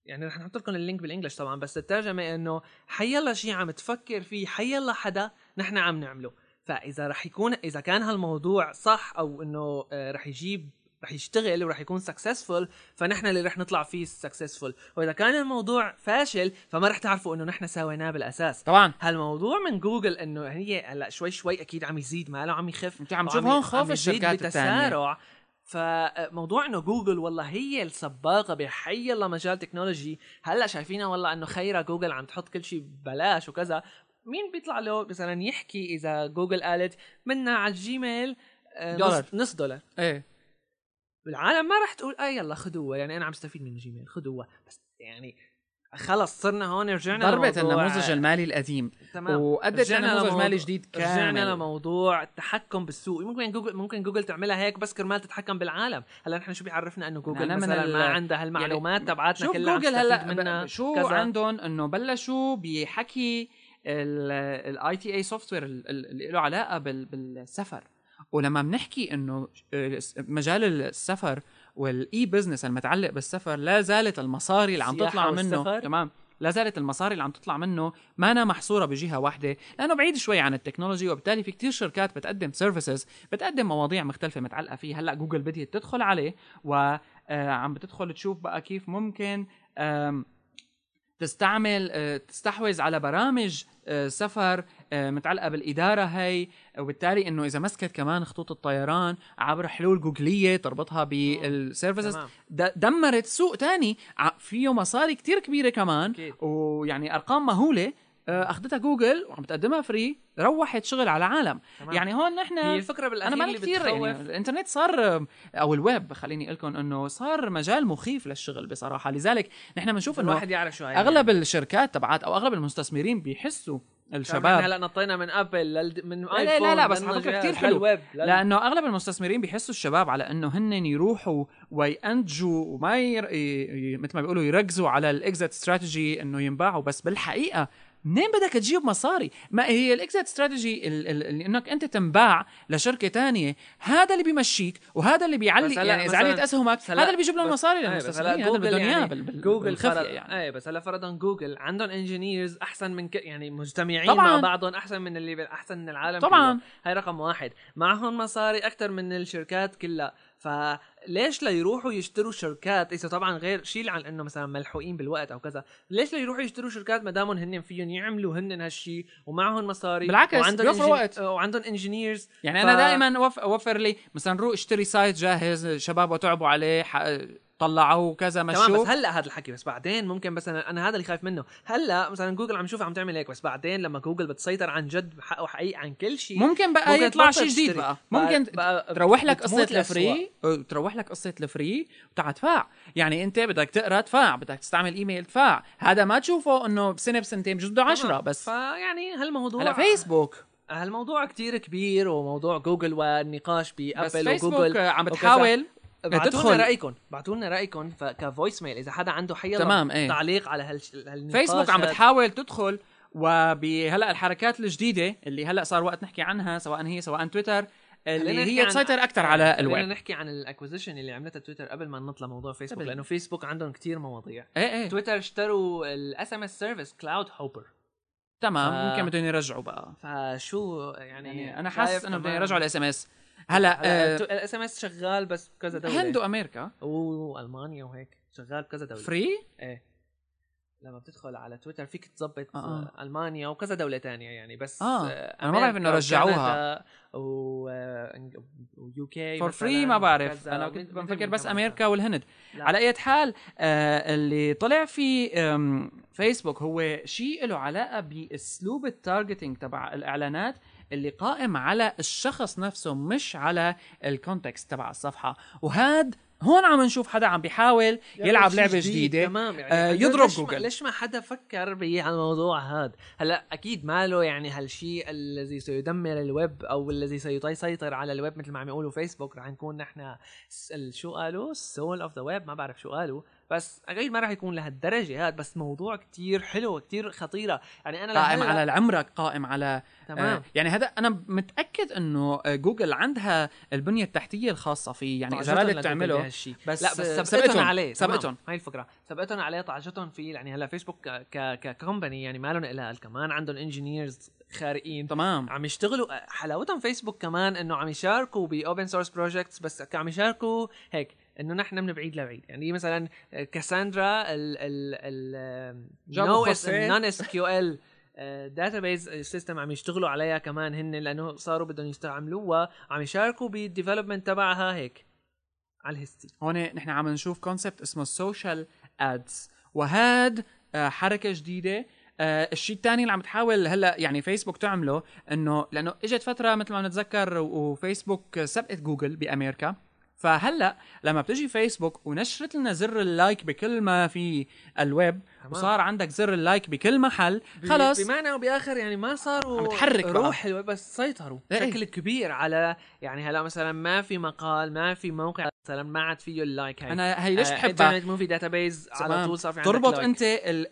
Speaker 2: يعني رح نحط لكم اللينك بالانجلش طبعا بس الترجمه انه حي الله شيء عم تفكر فيه حي الله حدا نحن عم نعمله فاذا رح يكون اذا كان هالموضوع صح او انه آه، رح يجيب رح يشتغل ورح يكون سكسسفول فنحن اللي رح نطلع فيه سكسسفول واذا كان الموضوع فاشل فما رح تعرفوا انه نحن سويناه بالاساس
Speaker 1: طبعا
Speaker 2: هالموضوع من جوجل انه هي هلا شوي شوي اكيد عم يزيد ماله عم يخف
Speaker 1: انت عم
Speaker 2: وعم
Speaker 1: تشوف
Speaker 2: ي-
Speaker 1: هون خوف
Speaker 2: عم يزيد
Speaker 1: الشركات التانية.
Speaker 2: بتسارع فموضوع انه جوجل والله هي السباقه بحي الله مجال تكنولوجي هلا شايفينها والله انه خيرها جوجل عم تحط كل شيء ببلاش وكذا مين بيطلع له مثلا يحكي اذا جوجل قالت منا على الجيميل آه،
Speaker 1: دولار.
Speaker 2: نص, نص دولار
Speaker 1: ايه
Speaker 2: بالعالم ما راح تقول اه يلا خذوها يعني انا عم استفيد من جيميل خذوها بس يعني خلص صرنا هون رجعنا
Speaker 1: ضربت
Speaker 2: لموضوع-
Speaker 1: النموذج المالي القديم
Speaker 2: تمام
Speaker 1: وادت
Speaker 2: رجعنا
Speaker 1: لنموذج
Speaker 2: لموضوع-
Speaker 1: مالي جديد كامل
Speaker 2: رجعنا لموضوع التحكم بالسوق ممكن جوجل ممكن جوجل تعملها هيك بس كرمال تتحكم بالعالم هلا نحن شو بيعرفنا انه جوجل
Speaker 1: نعم، أنا من
Speaker 2: مثلا
Speaker 1: ال- يعني
Speaker 2: ما عندها هالمعلومات تبعاتنا
Speaker 1: شوف
Speaker 2: كلها عم
Speaker 1: جوجل
Speaker 2: تستفيد
Speaker 1: هلا
Speaker 2: منها
Speaker 1: ب- شو
Speaker 2: كذا.
Speaker 1: عندهم انه بلشوا بحكي الاي تي اي سوفت وير اللي له علاقه بال- بالسفر ولما بنحكي انه ال- مجال السفر والاي بزنس المتعلق بالسفر لا زالت المصاري اللي عم
Speaker 2: السياحة
Speaker 1: تطلع منه
Speaker 2: والسفر.
Speaker 1: تمام لا زالت المصاري اللي عم تطلع منه ما أنا محصوره بجهه واحده لانه بعيد شوي عن التكنولوجي وبالتالي في كتير شركات بتقدم سيرفيسز بتقدم مواضيع مختلفه متعلقه فيه هلا جوجل بدها تدخل عليه وعم آه، بتدخل تشوف بقى كيف ممكن آم، تستعمل آه، تستحوذ على برامج آه، سفر آه، متعلقه بالاداره هي وبالتالي انه اذا مسكت كمان خطوط الطيران عبر حلول جوجليه تربطها بالسيرفيسز
Speaker 2: تمام.
Speaker 1: د- دمرت سوق تاني ع- فيه مصاري كتير كبيره كمان
Speaker 2: أكيد.
Speaker 1: ويعني ارقام مهوله آه، اخذتها جوجل وعم تقدمها فري روحت شغل على العالم
Speaker 2: تمام.
Speaker 1: يعني هون نحن
Speaker 2: هي الفكره بالاخير
Speaker 1: انا ماني
Speaker 2: اللي
Speaker 1: كثير يعني
Speaker 2: بتخوف
Speaker 1: الانترنت صار او الويب خليني لكم انه صار مجال مخيف للشغل بصراحه لذلك نحن بنشوف انه
Speaker 2: الواحد يعرف شو يعني هاي
Speaker 1: اغلب الشركات تبعات او اغلب المستثمرين بيحسوا
Speaker 2: شباب
Speaker 1: الشباب
Speaker 2: هلا نطينا من ابل لل... من
Speaker 1: لا،
Speaker 2: ايفون
Speaker 1: لا، لا، بس على
Speaker 2: للنجاز،
Speaker 1: فكرة كتير حلو.
Speaker 2: للويب لل-
Speaker 1: لانه اغلب المستثمرين بيحسوا الشباب على انه هن يروحوا وينتجوا وما ير... ي- ي- مثل ما بيقولوا يركزوا على الاكزيت استراتيجي انه ينباعوا بس بالحقيقه منين بدك تجيب مصاري؟ ما هي الاكزيت استراتيجي انك انت تنباع لشركه تانية هذا اللي بيمشيك وهذا اللي بيعلي
Speaker 2: بس هلا
Speaker 1: يعني اذا
Speaker 2: مثلاً-
Speaker 1: عليت اسهمك
Speaker 2: بس هلا-
Speaker 1: هذا اللي بيجيب لهم
Speaker 2: بس-
Speaker 1: مصاري
Speaker 2: إيه، بس هلا
Speaker 1: للمستثمرين هذا
Speaker 2: جوجل
Speaker 1: بدهم اياه
Speaker 2: يعني-
Speaker 1: بال- بال-
Speaker 2: جوجل
Speaker 1: بالخفية
Speaker 2: فرض
Speaker 1: يعني
Speaker 2: يعني. ايه بس هلا فرضا جوجل عندهم انجينيرز احسن من ك... يعني مجتمعين
Speaker 1: طبعاً.
Speaker 2: مع بعضهم احسن من اللي احسن من العالم
Speaker 1: طبعاً.
Speaker 2: كله. هاي رقم واحد معهم مصاري اكثر من الشركات كلها فليش لا يروحوا يشتروا شركات اذا طبعا غير شيل عن انه مثلا ملحوقين بالوقت او كذا ليش لا يروحوا يشتروا شركات ما دامهم هن فيهم يعملوا هن هالشيء ومعهم مصاري
Speaker 1: بالعكس،
Speaker 2: وعندهم
Speaker 1: بيوفروا
Speaker 2: إنجن-
Speaker 1: وقت.
Speaker 2: وعندهم انجينيرز
Speaker 1: يعني
Speaker 2: ف-
Speaker 1: انا دائما وف... وفر لي مثلا روح اشتري سايت جاهز شباب وتعبوا عليه ح... طلعوه وكذا
Speaker 2: تمام بس
Speaker 1: مشوه
Speaker 2: هلا هذا الحكي بس بعدين ممكن بس انا, أنا هذا اللي خايف منه هلا مثلا جوجل عم شوف عم تعمل هيك بس بعدين لما جوجل بتسيطر عن جد بحق وحقيقي عن كل شيء
Speaker 1: ممكن بقى
Speaker 2: ممكن
Speaker 1: يطلع شيء
Speaker 2: تبطل
Speaker 1: جديد
Speaker 2: تشتري.
Speaker 1: بقى
Speaker 2: بقى-
Speaker 1: ممكن
Speaker 2: بقى
Speaker 1: تروح لك
Speaker 2: بتموت
Speaker 1: قصه
Speaker 2: الأسواق.
Speaker 1: الفري أو تروح لك قصه الفري وتع دفاع يعني انت بدك تقرا دفاع بدك تستعمل ايميل دفاع هذا ما تشوفه انه بسنه بسنتين بجوز بده 10
Speaker 2: تمام.
Speaker 1: بس
Speaker 2: فيعني هالموضوع
Speaker 1: هلا فيسبوك
Speaker 2: هالموضوع آه، كتير كبير وموضوع جوجل والنقاش
Speaker 1: بس آه،
Speaker 2: بابل
Speaker 1: فيسبوك
Speaker 2: وجوجل
Speaker 1: عم
Speaker 2: وكذا.
Speaker 1: بتحاول
Speaker 2: ابعتوا
Speaker 1: تدخل.
Speaker 2: لنا رايكم ابعتوا لنا رايكم ف- كفويس ميل اذا حدا عنده حيلا
Speaker 1: تمام، إيه.
Speaker 2: تعليق على هالش... هالنقاش آه،
Speaker 1: فيسبوك عم
Speaker 2: هاد.
Speaker 1: بتحاول تدخل وبهلا الحركات الجديده اللي هلا صار وقت نحكي عنها سواء هي سواء تويتر
Speaker 2: خلينا
Speaker 1: اللي
Speaker 2: نحكي
Speaker 1: هي
Speaker 2: عن-
Speaker 1: تسيطر اكثر على الويب
Speaker 2: خلينا نحكي عن الاكوزيشن اللي عملتها تويتر قبل ما نطلع موضوع فيسبوك
Speaker 1: قبل.
Speaker 2: لانه فيسبوك عندهم كتير مواضيع
Speaker 1: ايه ايه
Speaker 2: تويتر اشتروا الاس ام اس سيرفيس كلاود هوبر
Speaker 1: تمام
Speaker 2: آه.
Speaker 1: ممكن بدهم يرجعوا بقى
Speaker 2: فشو يعني,
Speaker 1: يعني انا حاسس انه بدهم يرجعوا الاس ام اس هلا آه،
Speaker 2: الاس ام اس شغال بس بكذا دوله
Speaker 1: هند وامريكا
Speaker 2: والمانيا وهيك شغال بكذا دوله
Speaker 1: فري
Speaker 2: ايه لما بتدخل على تويتر فيك تظبط
Speaker 1: آه، آه.
Speaker 2: آه. المانيا وكذا دوله تانية يعني بس
Speaker 1: آه، أنا ما
Speaker 2: أمريكا
Speaker 1: بعرف إنه رجعوها.
Speaker 2: وكندا و آه، ويو كي
Speaker 1: فور فري ما بعرف انا كنت بفكر بس امريكا والهند
Speaker 2: لا.
Speaker 1: على اي حال آه اللي طلع في آم، فيسبوك هو شيء له علاقه باسلوب التارجتنج تبع الاعلانات اللي قائم على الشخص نفسه مش على الكونتكست تبع الصفحه وهاد هون عم نشوف حدا عم بيحاول يلعب لعبه جديده
Speaker 2: تمام يعني
Speaker 1: آه،
Speaker 2: هلا
Speaker 1: يضرب
Speaker 2: ليش ما-
Speaker 1: جوجل.
Speaker 2: ليش ما حدا فكر بالموضوع هذا هلا اكيد ما له يعني هالشيء الذي سيدمر الويب او الذي سيسيطر على الويب مثل ما عم يقولوا فيسبوك رح نكون نحن س- ال- شو قالوا السول اوف ذا ويب ما بعرف شو قالوا بس اكيد ما رح يكون لهالدرجه هذا بس موضوع كتير حلو كتير خطيره يعني انا
Speaker 1: قائم
Speaker 2: لهلا-
Speaker 1: على عمرك قائم على
Speaker 2: تمام
Speaker 1: آه، يعني هذا انا متاكد انه آه، جوجل عندها البنيه التحتيه الخاصه فيه يعني اذا
Speaker 2: طعجتهم
Speaker 1: رادت
Speaker 2: لجوجل
Speaker 1: تعمله
Speaker 2: بهالشي.
Speaker 1: بس-
Speaker 2: لا
Speaker 1: آه،
Speaker 2: بس
Speaker 1: سبقتهم.
Speaker 2: سبقتهم عليه
Speaker 1: سبقتهم.
Speaker 2: تمام. هاي الفكره سبقتهم عليه طعجتهم فيه يعني هلا فيسبوك ك ك- ككومباني يعني ما لهم الا كمان عندهم انجينيرز خارقين
Speaker 1: تمام
Speaker 2: عم يشتغلوا آه، حلاوتهم فيسبوك كمان انه عم يشاركوا باوبن سورس بروجكتس بس عم يشاركوا هيك انه نحن من بعيد لبعيد يعني مثلا كاساندرا ال ال آه، ال
Speaker 1: جابوا
Speaker 2: نو اس
Speaker 1: خوسيه.
Speaker 2: نون اس كيو ال داتابيز سيستم آه، عم يشتغلوا عليها كمان هن لانه صاروا بدهم يستعملوها عم يشاركوا بالديفلوبمنت تبعها هيك على الهستي
Speaker 1: هون نحن عم نشوف كونسبت اسمه السوشيال ادز وهاد آه، حركه جديده آه، الشيء الثاني اللي عم تحاول هلا يعني فيسبوك تعمله انه لانه اجت فتره مثل ما بنتذكر و- وفيسبوك سبقت جوجل بامريكا فهلا لما بتجي فيسبوك ونشرت لنا زر اللايك بكل ما في الويب
Speaker 2: تمام.
Speaker 1: وصار عندك زر اللايك بكل محل خلص
Speaker 2: بمعنى وباخر يعني ما صاروا
Speaker 1: عم تحرك بقى.
Speaker 2: روح الويب بس سيطروا
Speaker 1: إيه.
Speaker 2: بشكل كبير على يعني هلا مثلا ما في مقال ما في موقع مثلا ما عاد فيه آه، اللايك هاي
Speaker 1: انا هي ليش بحبها
Speaker 2: انترنت موفي داتابيز إيه؟ على
Speaker 1: تمام.
Speaker 2: طول صار في عندك
Speaker 1: تربط
Speaker 2: لايك.
Speaker 1: انت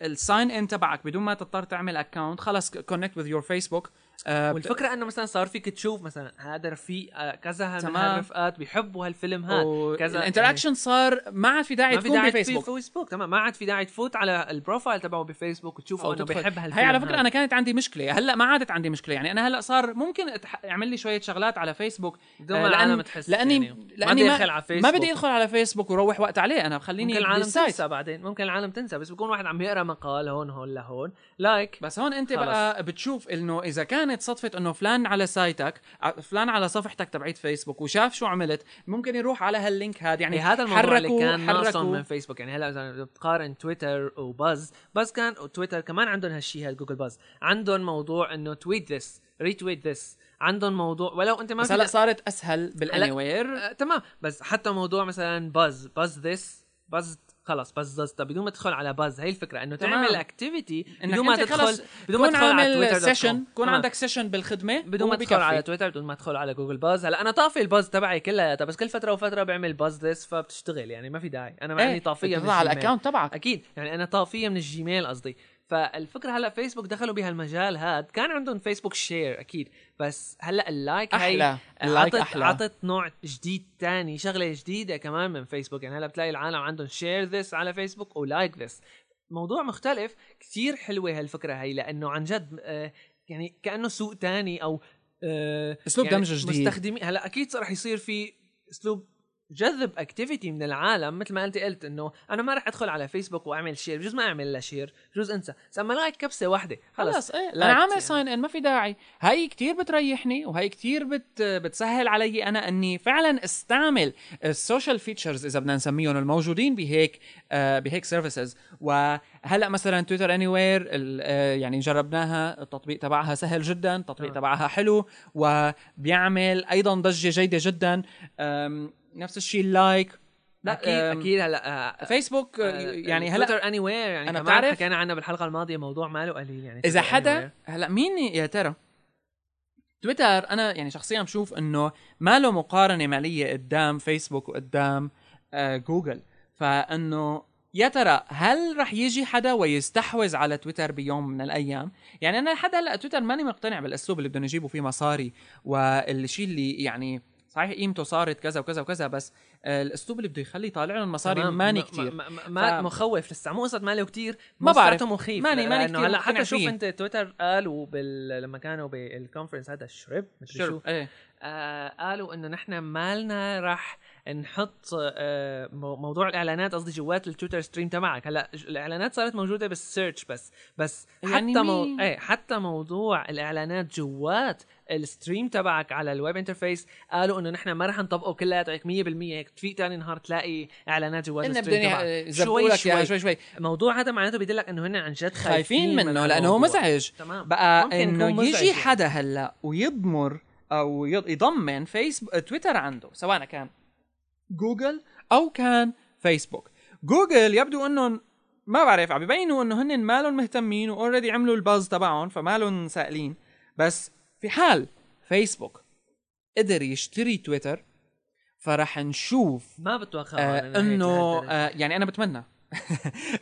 Speaker 1: الساين ان تبعك بدون ما تضطر تعمل اكونت خلص كونكت وذ يور فيسبوك آه،
Speaker 2: والفكره انه مثلا صار فيك تشوف مثلا هذا رفيق آه، كذا هال- من
Speaker 1: تمام.
Speaker 2: هالرفقات بيحبوا هالفيلم هذا كذا يعني.
Speaker 1: الانتراكشن صار ما عاد في داعي
Speaker 2: ما في
Speaker 1: تكون
Speaker 2: داعي في
Speaker 1: بفيسبوك
Speaker 2: فيسبوك تمام ما عاد في داعي تفوت على البروفايل تبعه بفيسبوك وتشوفه
Speaker 1: او
Speaker 2: انه
Speaker 1: تدخل.
Speaker 2: بيحب هالفيلم
Speaker 1: هي على فكره
Speaker 2: هذا.
Speaker 1: انا كانت عندي مشكله هلا ما عادت عندي مشكله يعني انا هلا صار ممكن أتح... يعمل لي شويه شغلات على فيسبوك
Speaker 2: بدون
Speaker 1: آه،
Speaker 2: ما العالم تحس
Speaker 1: لاني
Speaker 2: يعني.
Speaker 1: لاني
Speaker 2: ما
Speaker 1: ما,
Speaker 2: داخل على
Speaker 1: ما
Speaker 2: فيسبوك
Speaker 1: بدي ادخل على فيسبوك وروح وقت عليه انا خليني
Speaker 2: ممكن العالم
Speaker 1: بالسايت.
Speaker 2: تنسى بعدين ممكن العالم تنسى بس بكون واحد عم يقرا مقال هون هون لهون لايك
Speaker 1: بس هون انت
Speaker 2: خلص.
Speaker 1: بقى بتشوف انه اذا كانت صدفه انه فلان على سايتك ع- فلان على صفحتك تبعت فيسبوك وشاف شو عملت ممكن يروح على هاللينك هذا يعني
Speaker 2: يعني هذا الموضوع اللي
Speaker 1: حركوا-
Speaker 2: كان ناقصهم
Speaker 1: حركوا.
Speaker 2: من فيسبوك يعني هلا اذا بتقارن تويتر وباز باز كان وتويتر كمان عندهم هالشيء هاد جوجل باز عندهم موضوع انه تويت ذس ريتويت ذس عندهم موضوع ولو انت ما
Speaker 1: بس
Speaker 2: في
Speaker 1: هلا صارت اسهل
Speaker 2: هلا-
Speaker 1: بالانيوير
Speaker 2: آه، تمام بس حتى موضوع مثلا باز باز ذس باز خلص باز ذس بدون ما تدخل على باز هي الفكره انه
Speaker 1: تمام.
Speaker 2: تعمل اكتيفيتي
Speaker 1: إنك
Speaker 2: بدون ما
Speaker 1: أنت خلص
Speaker 2: تدخل بدون ما
Speaker 1: كون
Speaker 2: تدخل على تويتر
Speaker 1: عامل سيشن كون عندك سيشن بالخدمه
Speaker 2: بدون ما
Speaker 1: وبكفي.
Speaker 2: تدخل على تويتر بدون ما تدخل على جوجل باز هلا انا طافي الباز تبعي كلياتها بس كل فتره وفتره بعمل باز ذس فبتشتغل يعني ما في داعي انا مع اني طافيه من
Speaker 1: إيه، بتطلع على
Speaker 2: الجيميل.
Speaker 1: الاكونت تبعك
Speaker 2: اكيد يعني انا طافيه من الجيميل قصدي فالفكره هلا فيسبوك دخلوا بهالمجال هاد كان عندهم فيسبوك شير اكيد بس هلا اللايك هي
Speaker 1: احلى اللايك
Speaker 2: عطت
Speaker 1: احلى
Speaker 2: عطت نوع جديد تاني شغله جديده كمان من فيسبوك يعني هلا بتلاقي العالم عندهم شير ذس على فيسبوك ولايك ذس موضوع مختلف كثير حلوه هالفكره هي لانه عن جد آه، يعني كانه سوق تاني او آه،
Speaker 1: أسلوب
Speaker 2: يعني
Speaker 1: دمج جديد.
Speaker 2: مستخدمين هلا اكيد رح يصير في اسلوب جذب اكتيفيتي من العالم مثل ما انت قلت انه انا ما رح ادخل على فيسبوك واعمل شير بجوز ما اعمل لا شير بجوز انسى بس اما لايك كبسه واحده خلص
Speaker 1: خلص ايه
Speaker 2: لا
Speaker 1: انا عامل
Speaker 2: يعني.
Speaker 1: ساين ان ما في داعي هاي كتير بتريحني وهي كتير بت بتسهل علي انا اني فعلا استعمل السوشيال فيتشرز اذا بدنا نسميهم الموجودين بهيك آه بهيك سيرفيسز وهلا مثلا تويتر اني وير يعني جربناها التطبيق تبعها سهل جدا التطبيق
Speaker 2: آه.
Speaker 1: تبعها حلو وبيعمل ايضا ضجه جيده جدا آم، نفس الشيء اللايك
Speaker 2: لا
Speaker 1: آم،
Speaker 2: اكيد اكيد هلا آه،
Speaker 1: فيسبوك آه، يعني هلا
Speaker 2: تويتر اني وير
Speaker 1: أنا
Speaker 2: يعني أنا كمان
Speaker 1: بتعرف-
Speaker 2: حكينا عنه بالحلقه الماضيه موضوع ماله قليل يعني
Speaker 1: اذا
Speaker 2: Twitter
Speaker 1: حدا
Speaker 2: anywhere.
Speaker 1: هلا مين يا ترى تويتر انا يعني شخصيا بشوف انه ما له مقارنه ماليه قدام فيسبوك وقدام آه جوجل فانه يا ترى هل رح يجي حدا ويستحوذ على تويتر بيوم من الايام يعني انا لحد هلا تويتر ماني مقتنع بالاسلوب اللي بدهم يجيبوا فيه مصاري والشيء اللي يعني صحيح قيمته صارت كذا وكذا وكذا بس آه، الاسلوب اللي بده يخلي طالع لهم مصاري
Speaker 2: تمام.
Speaker 1: ماني
Speaker 2: ما-
Speaker 1: كتير
Speaker 2: ما, ما, ما
Speaker 1: ف-
Speaker 2: مخوف لسه مو قصد ماله كتير
Speaker 1: ما بعرف.
Speaker 2: لساته مخيف
Speaker 1: ماني-
Speaker 2: لأ-
Speaker 1: ماني
Speaker 2: لأنه
Speaker 1: كتير
Speaker 2: هلا
Speaker 1: مقتنع
Speaker 2: حتى شوف
Speaker 1: فيه.
Speaker 2: انت تويتر قالوا بال... لما كانوا بالكونفرنس هذا الشرب مدري شو
Speaker 1: شو ايه
Speaker 2: آه قالوا انه نحن مالنا رح نحط آه مو- موضوع الاعلانات قصدي جوات التويتر ستريم تبعك هلا ج- الاعلانات صارت موجوده بالسيرش بس بس
Speaker 1: يعني
Speaker 2: حتى مو...
Speaker 1: مين؟
Speaker 2: ايه حتى موضوع الاعلانات جوات الستريم تبعك على الويب انترفيس قالوا انه نحن ما رح نطبقه كلياته هيك 100% هيك في تاني نهار تلاقي اعلانات جوات
Speaker 1: إنه
Speaker 2: الستريم
Speaker 1: بدهم
Speaker 2: تبعك
Speaker 1: يزبوا
Speaker 2: شوي
Speaker 1: لك إياها
Speaker 2: شوي
Speaker 1: شوي شوي
Speaker 2: الموضوع هذا معناته بيدلك انه هن عن جد
Speaker 1: خايفين منه لانه هو
Speaker 2: الموضوع.
Speaker 1: مزعج
Speaker 2: تمام
Speaker 1: بقى
Speaker 2: ممكن
Speaker 1: انه
Speaker 2: يكون مزعج
Speaker 1: يجي
Speaker 2: يعني.
Speaker 1: حدا هلا ويضمر او يض- يضمن فيسبوك تويتر عنده سواء كان جوجل او كان فيسبوك جوجل يبدو انهم ما بعرف عم ببينوا انه هن مالهم مهتمين واوريدي عملوا الباز تبعهم فمالهم سائلين بس في حال فيسبوك قدر يشتري تويتر فرح نشوف
Speaker 2: ما بتوقع أنا هيك
Speaker 1: آه انه
Speaker 2: لهالدرجة.
Speaker 1: آه يعني انا بتمنى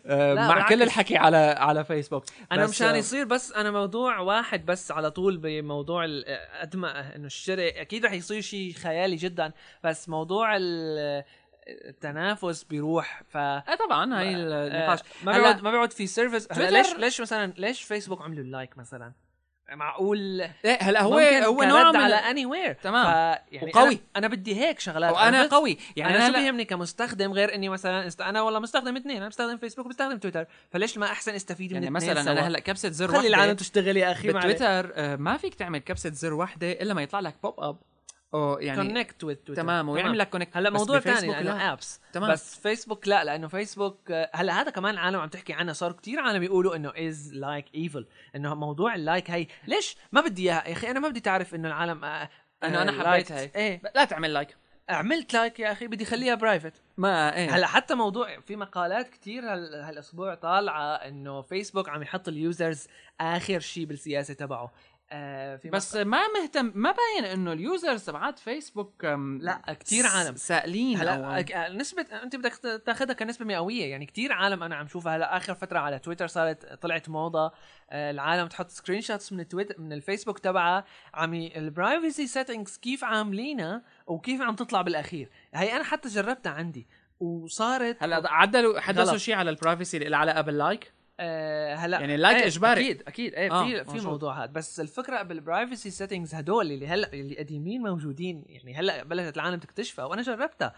Speaker 1: آه
Speaker 2: لا،
Speaker 1: مع كل
Speaker 2: بالعكس.
Speaker 1: الحكي على على فيسبوك
Speaker 2: انا
Speaker 1: بس،
Speaker 2: مشان
Speaker 1: آه،
Speaker 2: يصير بس انا موضوع واحد بس على طول بموضوع ال- قد ما انه الشرق اكيد رح يصير شيء خيالي جدا بس موضوع ال- التنافس بيروح ف
Speaker 1: آه طبعا هاي النقاش
Speaker 2: ما
Speaker 1: هلا-
Speaker 2: بيقعد ما بيقعد في سيرفيس هلا
Speaker 1: تويتر-
Speaker 2: ليش ليش مثلا ليش فيسبوك عملوا اللايك مثلا معقول
Speaker 1: إيه، هلا هو
Speaker 2: ممكن
Speaker 1: هو
Speaker 2: كرد
Speaker 1: نوع من
Speaker 2: على اني وير
Speaker 1: تمام.
Speaker 2: يعني
Speaker 1: وقوي.
Speaker 2: أنا, انا بدي هيك شغلات أنا
Speaker 1: وانا
Speaker 2: بس-
Speaker 1: قوي يعني
Speaker 2: انا شو
Speaker 1: لا-
Speaker 2: بيهمني كمستخدم غير اني مثلا است... انا والله مستخدم اثنين انا بستخدم فيسبوك وبستخدم تويتر فليش ما احسن استفيد من
Speaker 1: يعني
Speaker 2: الاثنين
Speaker 1: مثلا
Speaker 2: سوا؟
Speaker 1: انا هلا كبسه زر
Speaker 2: إيه، خلي العالم
Speaker 1: وحده
Speaker 2: تشتغل يا اخي
Speaker 1: بتويتر آه ما فيك تعمل كبسه زر وحده الا ما يطلع لك بوب اب او يعني
Speaker 2: كونكت وذ تويتر
Speaker 1: تمام ويعمل لك كونكت
Speaker 2: هلا موضوع ثاني لانه ابس
Speaker 1: تمام.
Speaker 2: تمام بس فيسبوك لا لانه فيسبوك آه، هلا هذا كمان عالم عم تحكي عنه صار كتير عالم يقولوا انه از لايك ايفل انه موضوع اللايك هي ليش ما بدي اياها يا اخي انا ما بدي تعرف انه العالم آه،
Speaker 1: أنا-
Speaker 2: آه،
Speaker 1: أنا حبيت
Speaker 2: liked.
Speaker 1: هاي.
Speaker 2: ايه
Speaker 1: لا تعمل لايك
Speaker 2: عملت لايك يا اخي بدي اخليها برايفت
Speaker 1: ما ايه
Speaker 2: هلا حتى موضوع في مقالات كتير هال... هالاسبوع طالعه انه فيسبوك عم يحط اليوزرز اخر شيء بالسياسه تبعه آه في
Speaker 1: بس ما مهتم ما باين انه اليوزرز تبعات فيسبوك أم،
Speaker 2: لا، كتير
Speaker 1: س-
Speaker 2: عالم.
Speaker 1: سائلين
Speaker 2: هلا
Speaker 1: هلا
Speaker 2: أك- آه، نسبة انت بدك ت- تاخذها كنسبة مئوية يعني كتير عالم انا عم شوفها هلا اخر فترة على تويتر صارت طلعت موضة آه، العالم تحط سكرين شوتس من تويتر من الفيسبوك تبعها عم البرايفسي سيتنجز كيف عاملينها وكيف عم تطلع بالاخير هي انا حتى جربتها عندي وصارت
Speaker 1: هلا عدلوا حدثوا
Speaker 2: غلط.
Speaker 1: شيء على البرايفسي اللي لها علاقه باللايك
Speaker 2: آه هلا
Speaker 1: يعني اللايك
Speaker 2: إيه،
Speaker 1: إجباري.
Speaker 2: اكيد اكيد ايه
Speaker 1: آه،
Speaker 2: في في
Speaker 1: مظبوط.
Speaker 2: موضوع هذا بس الفكره بالبرايفسي سيتنجز هدول اللي هلا اللي قديمين موجودين يعني هلا بلشت العالم تكتشفها وانا جربتها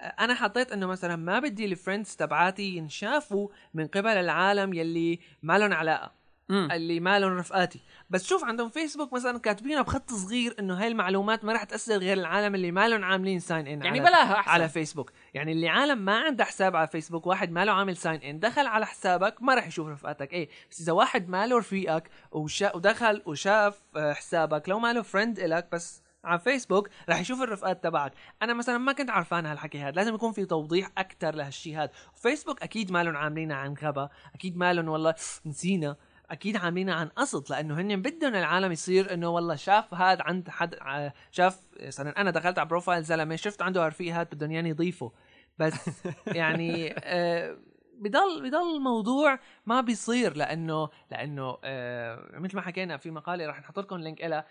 Speaker 2: آه، انا حطيت انه مثلا ما بدي الفريندز تبعاتي ينشافوا من قبل العالم يلي ما لهم علاقه
Speaker 1: امم
Speaker 2: اللي ما لهم رفقاتي بس شوف عندهم فيسبوك مثلا كاتبينها بخط صغير انه هاي المعلومات ما راح تاثر غير العالم اللي ما لهم عاملين ساين ان
Speaker 1: يعني بلاها احسن
Speaker 2: على فيسبوك يعني اللي عالم ما عنده حساب على فيسبوك واحد ما له عامل ساين ان دخل على حسابك ما راح يشوف رفقاتك ايه بس اذا واحد ما له رفيقك وشا ودخل وشاف آه، حسابك لو ما له فريند الك بس على فيسبوك راح يشوف الرفقات تبعك انا مثلا ما كنت عارفان هالحكي هذا لازم يكون في توضيح اكثر لهالشي هذا فيسبوك اكيد ما لهم عاملينها عن غبا اكيد ما لهم والله نسينا اكيد عاملينها عن قصد لانه هن بدهم العالم يصير انه والله شاف هاد عند حد ع- شاف مثلا انا دخلت على بروفايل زلمه شفت عنده هالرفيق هاد بدهم يعني يضيفه بس يعني آه بضل بضل الموضوع ما بيصير لانه لانه آه مثل ما حكينا في مقاله رح نحط لكم لينك لها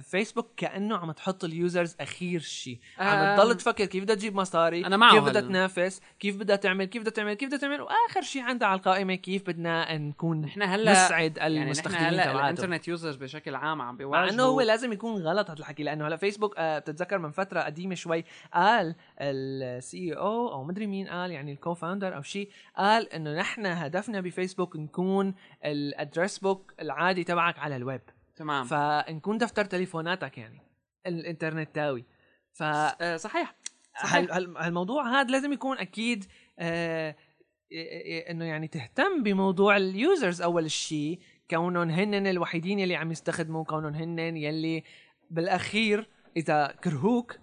Speaker 2: فيسبوك كانه عم تحط اليوزرز اخير شيء عم
Speaker 1: آم،
Speaker 2: تضل تفكر كيف بدها تجيب مصاري
Speaker 1: آه. أنا معه
Speaker 2: كيف بدها
Speaker 1: هلا.
Speaker 2: تنافس كيف بدها تعمل كيف بدها تعمل كيف بدها تعمل واخر شيء عندها على القائمه كيف بدنا نكون
Speaker 1: نحن هلا
Speaker 2: نسعد
Speaker 1: يعني نحن
Speaker 2: المستخدمين
Speaker 1: هلا
Speaker 2: تبعاتهم
Speaker 1: الانترنت يوزرز بشكل عام عم
Speaker 2: مع
Speaker 1: بيواجهوا
Speaker 2: انه هو لازم يكون غلط هذا الحكي لانه هلا فيسبوك آه بتتذكر من فتره قديمه شوي قال السي او او مدري مين قال يعني الكو فاوندر او شيء قال انه نحن هدفنا بفيسبوك نكون الادرس بوك العادي تبعك على الويب
Speaker 1: تمام ف...
Speaker 2: فنكون دفتر تليفوناتك يعني الانترنت تاوي ف
Speaker 1: آه، صحيح صحيح.
Speaker 2: هال- هال- هالموضوع هذا لازم يكون اكيد آه، إي- إي- انه يعني تهتم بموضوع اليوزرز اول شيء كونهم هن الوحيدين يلي عم يستخدموا كونهم هن يلي بالاخير اذا كرهوك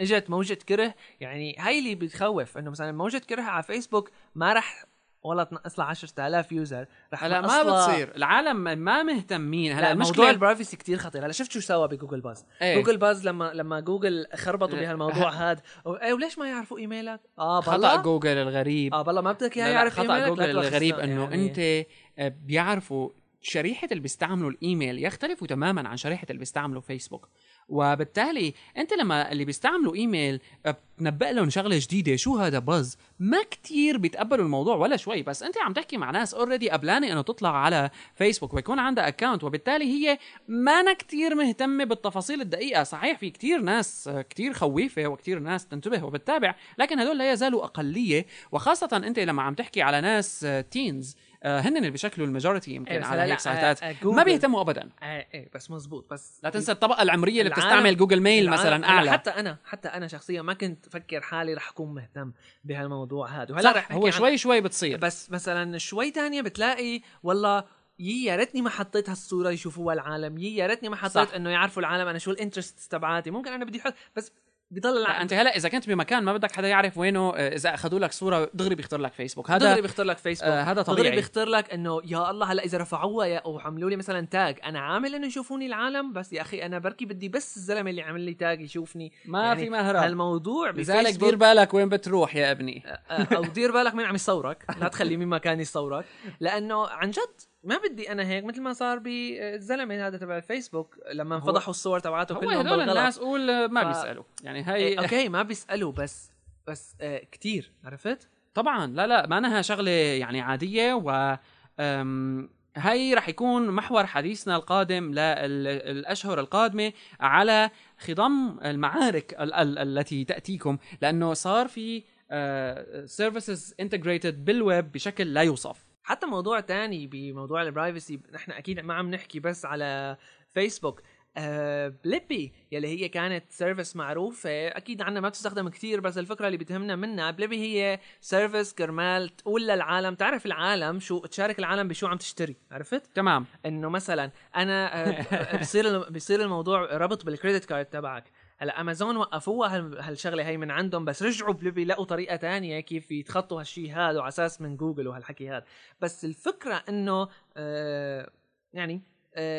Speaker 2: اجت موجه كره يعني هاي اللي بتخوف انه مثلا موجه كره على فيسبوك ما رح والله تنقص لها 10000 يوزر رح
Speaker 1: هلا
Speaker 2: تنقص
Speaker 1: ما
Speaker 2: لها-
Speaker 1: بتصير العالم ما مهتمين هلا
Speaker 2: هلا الموضوع
Speaker 1: المشكله
Speaker 2: البرايفسي كتير خطير هلا شفت شو سوى بجوجل باز
Speaker 1: إيه.
Speaker 2: جوجل باز لما لما جوجل خربطوا
Speaker 1: إيه.
Speaker 2: بهالموضوع هذا ايه وليش ما يعرفوا ايميلك اه
Speaker 1: خطا
Speaker 2: بالله
Speaker 1: جوجل الغريب
Speaker 2: اه بالله ما بدك
Speaker 1: لا،
Speaker 2: اياه
Speaker 1: لا،
Speaker 2: يعرف
Speaker 1: خطا
Speaker 2: ايميلك
Speaker 1: جوجل
Speaker 2: لا تروح
Speaker 1: الغريب
Speaker 2: خصنا،
Speaker 1: انه
Speaker 2: يعني.
Speaker 1: انت آه، بيعرفوا شريحة اللي بيستعملوا الايميل يختلفوا تماما عن شريحة اللي بيستعملوا فيسبوك وبالتالي انت لما اللي بيستعملوا ايميل آه، بتنبأ لهم شغلة جديدة شو هذا باز ما كتير بيتقبلوا الموضوع ولا شوي بس انت عم تحكي مع ناس اوريدي قبلانه انه تطلع على فيسبوك ويكون عندها اكونت وبالتالي هي ما أنا كتير مهتمة بالتفاصيل الدقيقة صحيح في كتير ناس آه، كتير خويفة وكتير ناس تنتبه وبتتابع لكن هدول لا يزالوا أقلية وخاصة أنت لما عم تحكي على ناس آه، تينز هن اللي بيشكلوا الماجورتي يمكن
Speaker 2: إيه، بس
Speaker 1: على
Speaker 2: هلا
Speaker 1: هيك
Speaker 2: لا،
Speaker 1: سايتات
Speaker 2: آه، آه، جوجل.
Speaker 1: ما بيهتموا أبدا
Speaker 2: ايه ايه بس مزبوط بس إيه،
Speaker 1: لا تنسى الطبقة العمرية اللي
Speaker 2: العالم-
Speaker 1: بتستعمل جوجل ميل
Speaker 2: العالم-
Speaker 1: مثلا
Speaker 2: هلا
Speaker 1: أعلى
Speaker 2: حتى انا حتى انا شخصيا ما كنت فكر حالي رح اكون مهتم بهالموضوع هذا وهلا رح
Speaker 1: صح
Speaker 2: نحكي
Speaker 1: هو
Speaker 2: عن-
Speaker 1: شوي شوي بتصير
Speaker 2: بس مثلا شوي تانية بتلاقي والله يي يا ريتني ما حطيت هالصوره يشوفوها العالم يي يا ريتني ما حطيت
Speaker 1: صح.
Speaker 2: انه يعرفوا العالم انا شو الانترستس تبعاتي ممكن انا بدي احط بس بضل
Speaker 1: لا
Speaker 2: العالم
Speaker 1: انت هلا اذا كنت بمكان ما بدك حدا يعرف وينه آه، اذا اخذوا لك صوره دغري بيخطر لك فيسبوك هذا
Speaker 2: دغري بيختار لك فيسبوك
Speaker 1: آه، هذا
Speaker 2: دغري
Speaker 1: طبيعي.
Speaker 2: بيختار لك انه يا الله هلا اذا رفعوها يا او عملوا لي مثلا تاج انا عامل انه يشوفوني العالم بس يا اخي انا بركي بدي بس الزلمه اللي عمل لي تاج يشوفني
Speaker 1: ما
Speaker 2: يعني
Speaker 1: في مهرب.
Speaker 2: هالموضوع
Speaker 1: لذلك
Speaker 2: بفيسبوك
Speaker 1: دير بالك وين بتروح يا ابني
Speaker 2: آه، او دير بالك مين عم يصورك لا تخلي مين ما كان يصورك لانه عن جد ما بدي انا هيك مثل ما صار بالزلمه هذا تبع الفيسبوك لما
Speaker 1: هو-
Speaker 2: فضحوا الصور تبعته
Speaker 1: هو
Speaker 2: كلهم
Speaker 1: هدول
Speaker 2: بالغلط.
Speaker 1: الناس قول آه، ما
Speaker 2: ف-
Speaker 1: بيسالوا يعني هي
Speaker 2: إيه، اوكي ما بيسالوا بس بس آه كتير عرفت؟
Speaker 1: طبعا لا لا ما انها شغله يعني عاديه و أم، هي رح يكون محور حديثنا القادم للاشهر القادمه على خضم المعارك ال- ال- التي تاتيكم لانه صار في آه، سيرفيسز انتجريتد بالويب بشكل لا يوصف
Speaker 2: حتى موضوع تاني بموضوع البرايفسي نحن اكيد ما عم نحكي بس على فيسبوك آه بليبي يلي هي كانت سيرفيس معروفة أكيد عنا ما بتستخدم كتير بس الفكرة اللي بتهمنا منها بليبي هي سيرفيس كرمال تقول للعالم تعرف العالم شو تشارك العالم بشو عم تشتري عرفت؟
Speaker 1: تمام
Speaker 2: انه مثلا انا آه، بصير بصير الموضوع ربط بالكريدت كارد تبعك هلا امازون وقفوها هال- هالشغله هي من عندهم بس رجعوا بلبي لقوا طريقه تانية كيف يتخطوا هالشيء هذا وعلى اساس من جوجل وهالحكي هذا بس الفكره انه آه يعني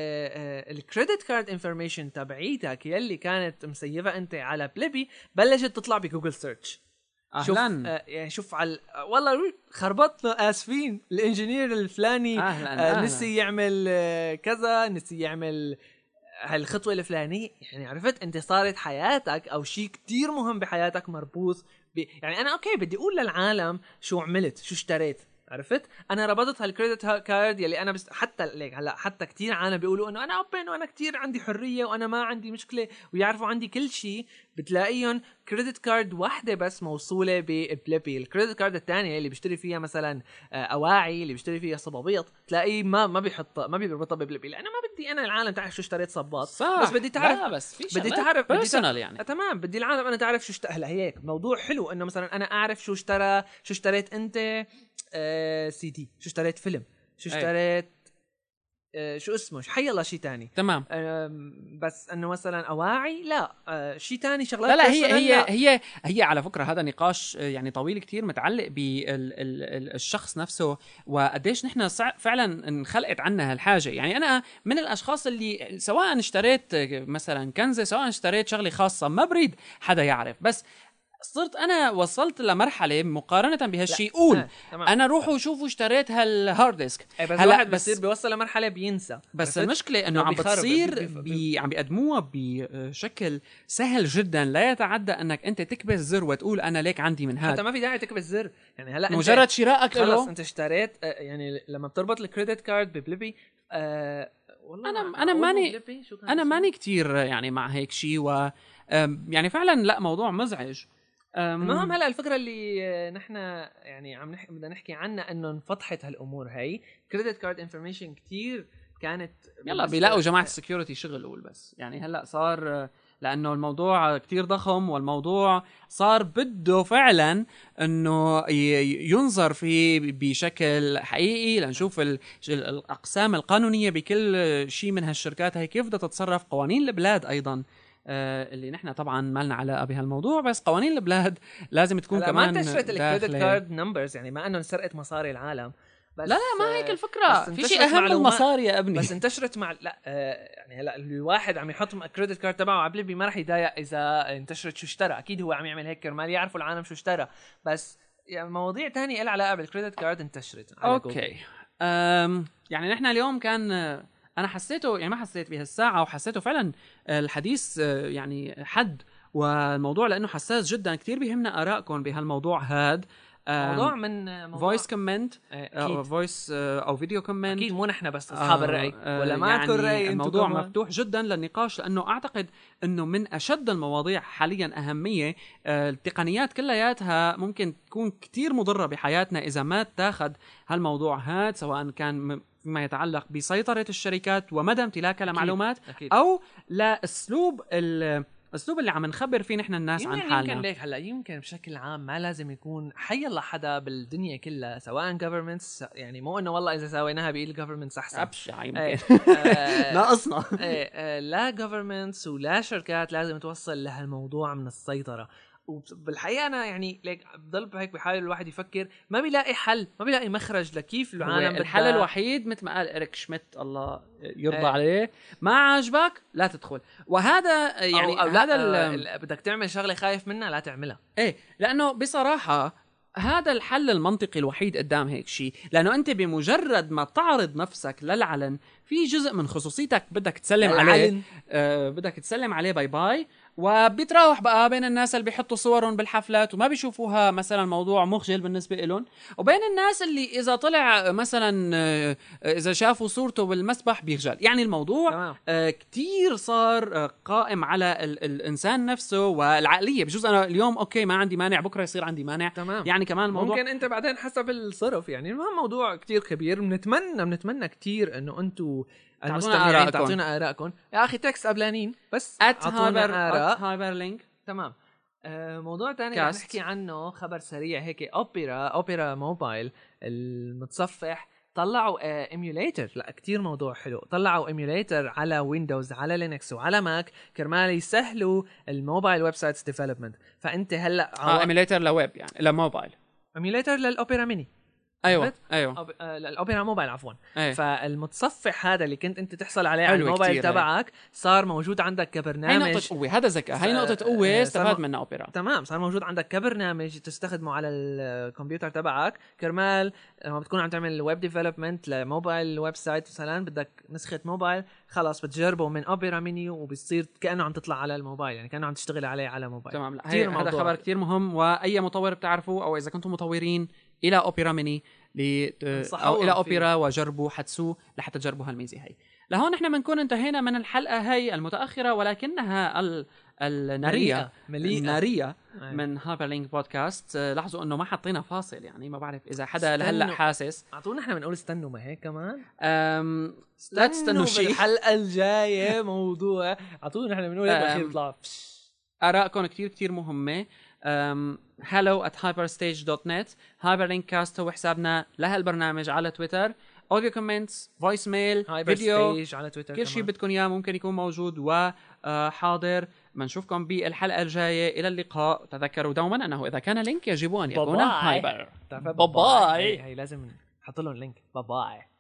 Speaker 2: آه، الكريدت كارد انفورميشن تبعيتك يلي كانت مسيفه انت على بليبي بلشت تطلع بجوجل سيرش شوف
Speaker 1: اهلا
Speaker 2: آه يعني شوف على والله رو- خربطنا اسفين الانجينير الفلاني آه
Speaker 1: اهلا
Speaker 2: آه
Speaker 1: اهلا
Speaker 2: نسي يعمل آه كذا نسي يعمل هالخطوه الفلانيه يعني عرفت انت صارت حياتك او شيء كتير مهم بحياتك مربوط ب... يعني انا اوكي بدي اقول للعالم شو عملت شو اشتريت عرفت انا ربطت هالكريدت ها- كارد يلي انا بس حتى ليك هلا حتى كتير عالم بيقولوا انه انا اوبن وانا كتير عندي حريه وانا ما عندي مشكله ويعرفوا عندي كل شيء بتلاقيهم كريدت كارد واحده بس موصوله ببليبي الكريدت كارد الثانيه اللي بيشتري فيها مثلا آه، اواعي اللي بيشتري فيها صبابيط تلاقيه ما ما بيحطها ما بيربطها ببليبي لانه ما بدي انا العالم تعرف شو اشتريت صباط
Speaker 1: صح
Speaker 2: بس بدي تعرف
Speaker 1: لا بس في
Speaker 2: بدي تعرف- بدي
Speaker 1: بيرسونال يعني
Speaker 2: آه، تمام بدي العالم انا تعرف شو اشترى هلا هيك موضوع حلو انه مثلا انا اعرف شو اشترى شو اشتريت انت آه سي دي شو اشتريت فيلم شو
Speaker 1: أي.
Speaker 2: اشتريت آه شو اسمه شو- حيلا شيء تاني
Speaker 1: تمام
Speaker 2: آم، بس انه مثلا اواعي لا آه شيء تاني شغلات
Speaker 1: لا لا هي
Speaker 2: personal،
Speaker 1: هي
Speaker 2: لا.
Speaker 1: هي هي على فكره هذا نقاش آه، يعني طويل كتير متعلق بالشخص نفسه وقديش نحن صع- فعلا انخلقت عنا هالحاجه يعني انا من الاشخاص اللي سواء اشتريت آه، مثلا كنزه سواء اشتريت شغله خاصه ما بريد حدا يعرف بس صرت انا وصلت لمرحله مقارنه بهالشيء قول
Speaker 2: آه، تمام.
Speaker 1: انا روحوا شوفوا اشتريت هالهارد ديسك
Speaker 2: إيه، بس
Speaker 1: هلا
Speaker 2: الواحد
Speaker 1: بس-
Speaker 2: بصير بيوصل لمرحله بينسى
Speaker 1: بس
Speaker 2: عرفت؟
Speaker 1: المشكله انه
Speaker 2: إنه
Speaker 1: عم
Speaker 2: بيخرب،
Speaker 1: بتصير
Speaker 2: بي- بي-
Speaker 1: بي عم بيقدموها بشكل سهل جدا لا يتعدى انك انت تكبس زر وتقول انا ليك عندي من
Speaker 2: حتى
Speaker 1: هذا
Speaker 2: ما في داعي تكبس زر يعني هلا أنت-
Speaker 1: مجرد شرائك
Speaker 2: خلص
Speaker 1: له
Speaker 2: انت اشتريت آه، يعني لما بتربط الكريدت كارد ببليبي آه والله
Speaker 1: أنا-
Speaker 2: ما-
Speaker 1: أنا
Speaker 2: أقول
Speaker 1: ماني-
Speaker 2: ببليبي؟ شو كان
Speaker 1: انا
Speaker 2: اسمه؟
Speaker 1: ماني كتير يعني مع هيك شيء و أم، يعني فعلا لا موضوع مزعج أم،
Speaker 2: المهم هلا الفكره اللي آه، نحن يعني عم نحكي بدنا نحكي عنها انه انفضحت هالامور هي كريدت كارد انفورميشن كتير كانت
Speaker 1: يلا
Speaker 2: بالنسبة-
Speaker 1: بيلاقوا جماعه السكيورتي شغل قول بس يعني هلا صار لانه الموضوع كتير ضخم والموضوع صار بده فعلا انه ي- ينظر فيه بشكل حقيقي لنشوف ال- ال- الاقسام القانونيه بكل شيء من هالشركات هي كيف بدها تتصرف قوانين البلاد ايضا آه، اللي نحن طبعا ما لنا علاقه بهالموضوع بس قوانين البلاد لازم تكون
Speaker 2: هلا
Speaker 1: كمان
Speaker 2: ما انتشرت الكريدت
Speaker 1: داخلة.
Speaker 2: كارد نمبرز يعني ما انه انسرقت مصاري العالم بس آه،
Speaker 1: لا لا ما هيك الفكره
Speaker 2: بس
Speaker 1: في
Speaker 2: انتشرت
Speaker 1: شيء اهم من
Speaker 2: معلومات.
Speaker 1: المصاري يا ابني
Speaker 2: بس انتشرت مع لا آه، يعني هلا الواحد عم يحط كريدت كارد تبعه على بليبي ما راح يضايق اذا انتشرت شو اشترى اكيد هو عم يعمل هيك كرمال يعرفوا العالم شو اشترى بس يعني مواضيع تانية لها علاقه بالكريدت كارد انتشرت على جوجل.
Speaker 1: اوكي أم يعني نحن اليوم كان آه، انا حسيته يعني ما حسيت بهالساعه وحسيته فعلا آه، الحديث آه، يعني حد والموضوع لانه حساس جدا كثير بيهمنا ارائكم بهالموضوع هاد
Speaker 2: موضوع من آه، موضوع
Speaker 1: فويس كومنت
Speaker 2: آه، اكيد
Speaker 1: فويس او فيديو كومنت
Speaker 2: اكيد مو نحن بس اصحاب الراي ولا ما عندكم راي انتم
Speaker 1: آه، يعني الموضوع
Speaker 2: كمان؟
Speaker 1: مفتوح جدا للنقاش لانه اعتقد انه من اشد المواضيع حاليا اهميه آه، التقنيات كلياتها ممكن تكون كتير مضره بحياتنا اذا ما تاخذ هالموضوع هاد سواء كان م- فيما يتعلق بسيطره الشركات ومدى امتلاكها لمعلومات
Speaker 2: اكيد
Speaker 1: او لاسلوب ال- الاسلوب اللي عم نخبر فيه نحن الناس عن
Speaker 2: يمكن يمكن
Speaker 1: حالنا
Speaker 2: ليك هلا يمكن بشكل عام ما لازم يكون حيلا حدا بالدنيا كلها سواء governments يعني مو انه والله اذا سويناها بايد governments احسن
Speaker 1: ابشع
Speaker 2: إيه.
Speaker 1: يمكن
Speaker 2: آه،
Speaker 1: ناقصنا
Speaker 2: إيه، آه، لا governments ولا شركات لازم توصل لهالموضوع من السيطره وبالحقيقه انا يعني ليك بضل هيك بحاول الواحد يفكر ما بيلاقي حل ما بيلاقي مخرج لكيف العالم
Speaker 1: هو الحل
Speaker 2: بدها-
Speaker 1: الوحيد مثل ما قال اريك شميت الله يرضى
Speaker 2: إيه.
Speaker 1: عليه ما عاجبك لا تدخل وهذا يعني
Speaker 2: أو, أو
Speaker 1: هذا
Speaker 2: لا
Speaker 1: ال-
Speaker 2: آه، بدك تعمل شغله خايف منها لا تعملها
Speaker 1: ايه لانه بصراحه هذا الحل المنطقي الوحيد قدام هيك شيء لانه انت بمجرد ما تعرض نفسك للعلن في جزء من خصوصيتك بدك تسلم
Speaker 2: يعني
Speaker 1: عليه
Speaker 2: العلن.
Speaker 1: آه بدك تسلم عليه باي باي وبيتراوح بقى بين الناس اللي بيحطوا صورهم بالحفلات وما بيشوفوها مثلا موضوع مخجل بالنسبه لهم وبين الناس اللي اذا طلع مثلا آه، اذا شافوا صورته بالمسبح بيخجل يعني الموضوع
Speaker 2: تمام
Speaker 1: آه، كتير صار آه، قائم على ال- الانسان نفسه والعقليه بجوز انا اليوم اوكي ما عندي مانع بكره يصير عندي مانع
Speaker 2: تمام
Speaker 1: يعني كمان الموضوع
Speaker 2: ممكن انت بعدين حسب الصرف يعني المهم موضوع كتير كبير بنتمنى بنتمنى كتير انه انتم
Speaker 1: آرائكم.
Speaker 2: المستمعين تعطونا ارائكم يا اخي تكس قبلانين بس اعطونا اراء
Speaker 1: هايبر لينك
Speaker 2: تمام آه، موضوع تاني رح
Speaker 1: Cast.
Speaker 2: نحكي عنه خبر سريع هيك اوبرا اوبرا موبايل المتصفح طلعوا ايميوليتر لا كتير موضوع حلو طلعوا ايميوليتر على ويندوز على لينكس وعلى ماك كرمال يسهلوا الموبايل ويب سايتس ديفلوبمنت فانت هلا
Speaker 1: اه ايميليتر لويب يعني لموبايل
Speaker 2: ايميوليتر للاوبرا ميني
Speaker 1: ايوه
Speaker 2: عرفت؟
Speaker 1: ايوه
Speaker 2: أوب- آه، للاوبرا موبايل عفوا
Speaker 1: ايه.
Speaker 2: فالمتصفح هذا اللي كنت انت تحصل عليه على
Speaker 1: حلو
Speaker 2: الموبايل
Speaker 1: كتير هي.
Speaker 2: تبعك صار موجود عندك
Speaker 1: هاي
Speaker 2: كبرنامج
Speaker 1: نقطة قوة هذا ذكاء هاي
Speaker 2: ف-
Speaker 1: نقطة
Speaker 2: آه،
Speaker 1: قوة استفاد
Speaker 2: فما-
Speaker 1: منها اوبرا
Speaker 2: تمام صار موجود عندك كبرنامج تستخدمه على الكمبيوتر تبعك كرمال لما بتكون عم تعمل ويب ديفلوبمنت لموبايل ويب سايت مثلا بدك نسخه موبايل خلاص بتجربه من اوبرا مينيو وبتصير كانه عم تطلع على الموبايل يعني كانه عم تشتغل عليه على موبايل
Speaker 1: تمام لا هي
Speaker 2: كتير
Speaker 1: هذا
Speaker 2: موضوع.
Speaker 1: خبر طيب. كتير مهم واي مطور بتعرفه او اذا كنتم مطورين الى اوبرا ميني لي
Speaker 2: انصحوهم
Speaker 1: او الى
Speaker 2: فيه.
Speaker 1: اوبرا وجربوا حدسوه لحتى تجربوا هالميزه هي لهون نحن بنكون انتهينا من الحلقه هي المتاخره ولكنها ال... نعم. الناريه
Speaker 2: مليئه
Speaker 1: الناريه
Speaker 2: أيوة.
Speaker 1: من هايبر لينك بودكاست آه، لاحظوا انه ما حطينا فاصل يعني ما بعرف اذا حدا
Speaker 2: استنوا.
Speaker 1: لهلا حاسس
Speaker 2: اعطونا احنا بنقول استنوا ما هيك كمان
Speaker 1: أم... لا تستنوا شيء
Speaker 2: الحلقه الجايه موضوع اعطونا احنا بنقول هيك
Speaker 1: أم.
Speaker 2: بخير بيطلع
Speaker 1: ارائكم كتير كتير مهمه أم، hello at hyperstage.net hyperlink cast هو حسابنا لهالبرنامج على تويتر اوديو كومنتس فويس ميل
Speaker 2: هايبر
Speaker 1: فيديو
Speaker 2: ستيج على تويتر
Speaker 1: كل شيء
Speaker 2: كمان.
Speaker 1: بدكم اياه ممكن يكون موجود وحاضر بنشوفكم بالحلقه الجايه الى اللقاء تذكروا دوما انه اذا كان لينك يجب ان يكون
Speaker 2: باي باي.
Speaker 1: هايبر
Speaker 2: تعرفها؟
Speaker 1: باي باي.
Speaker 2: هي- هي لازم نحط لهم لينك باي باي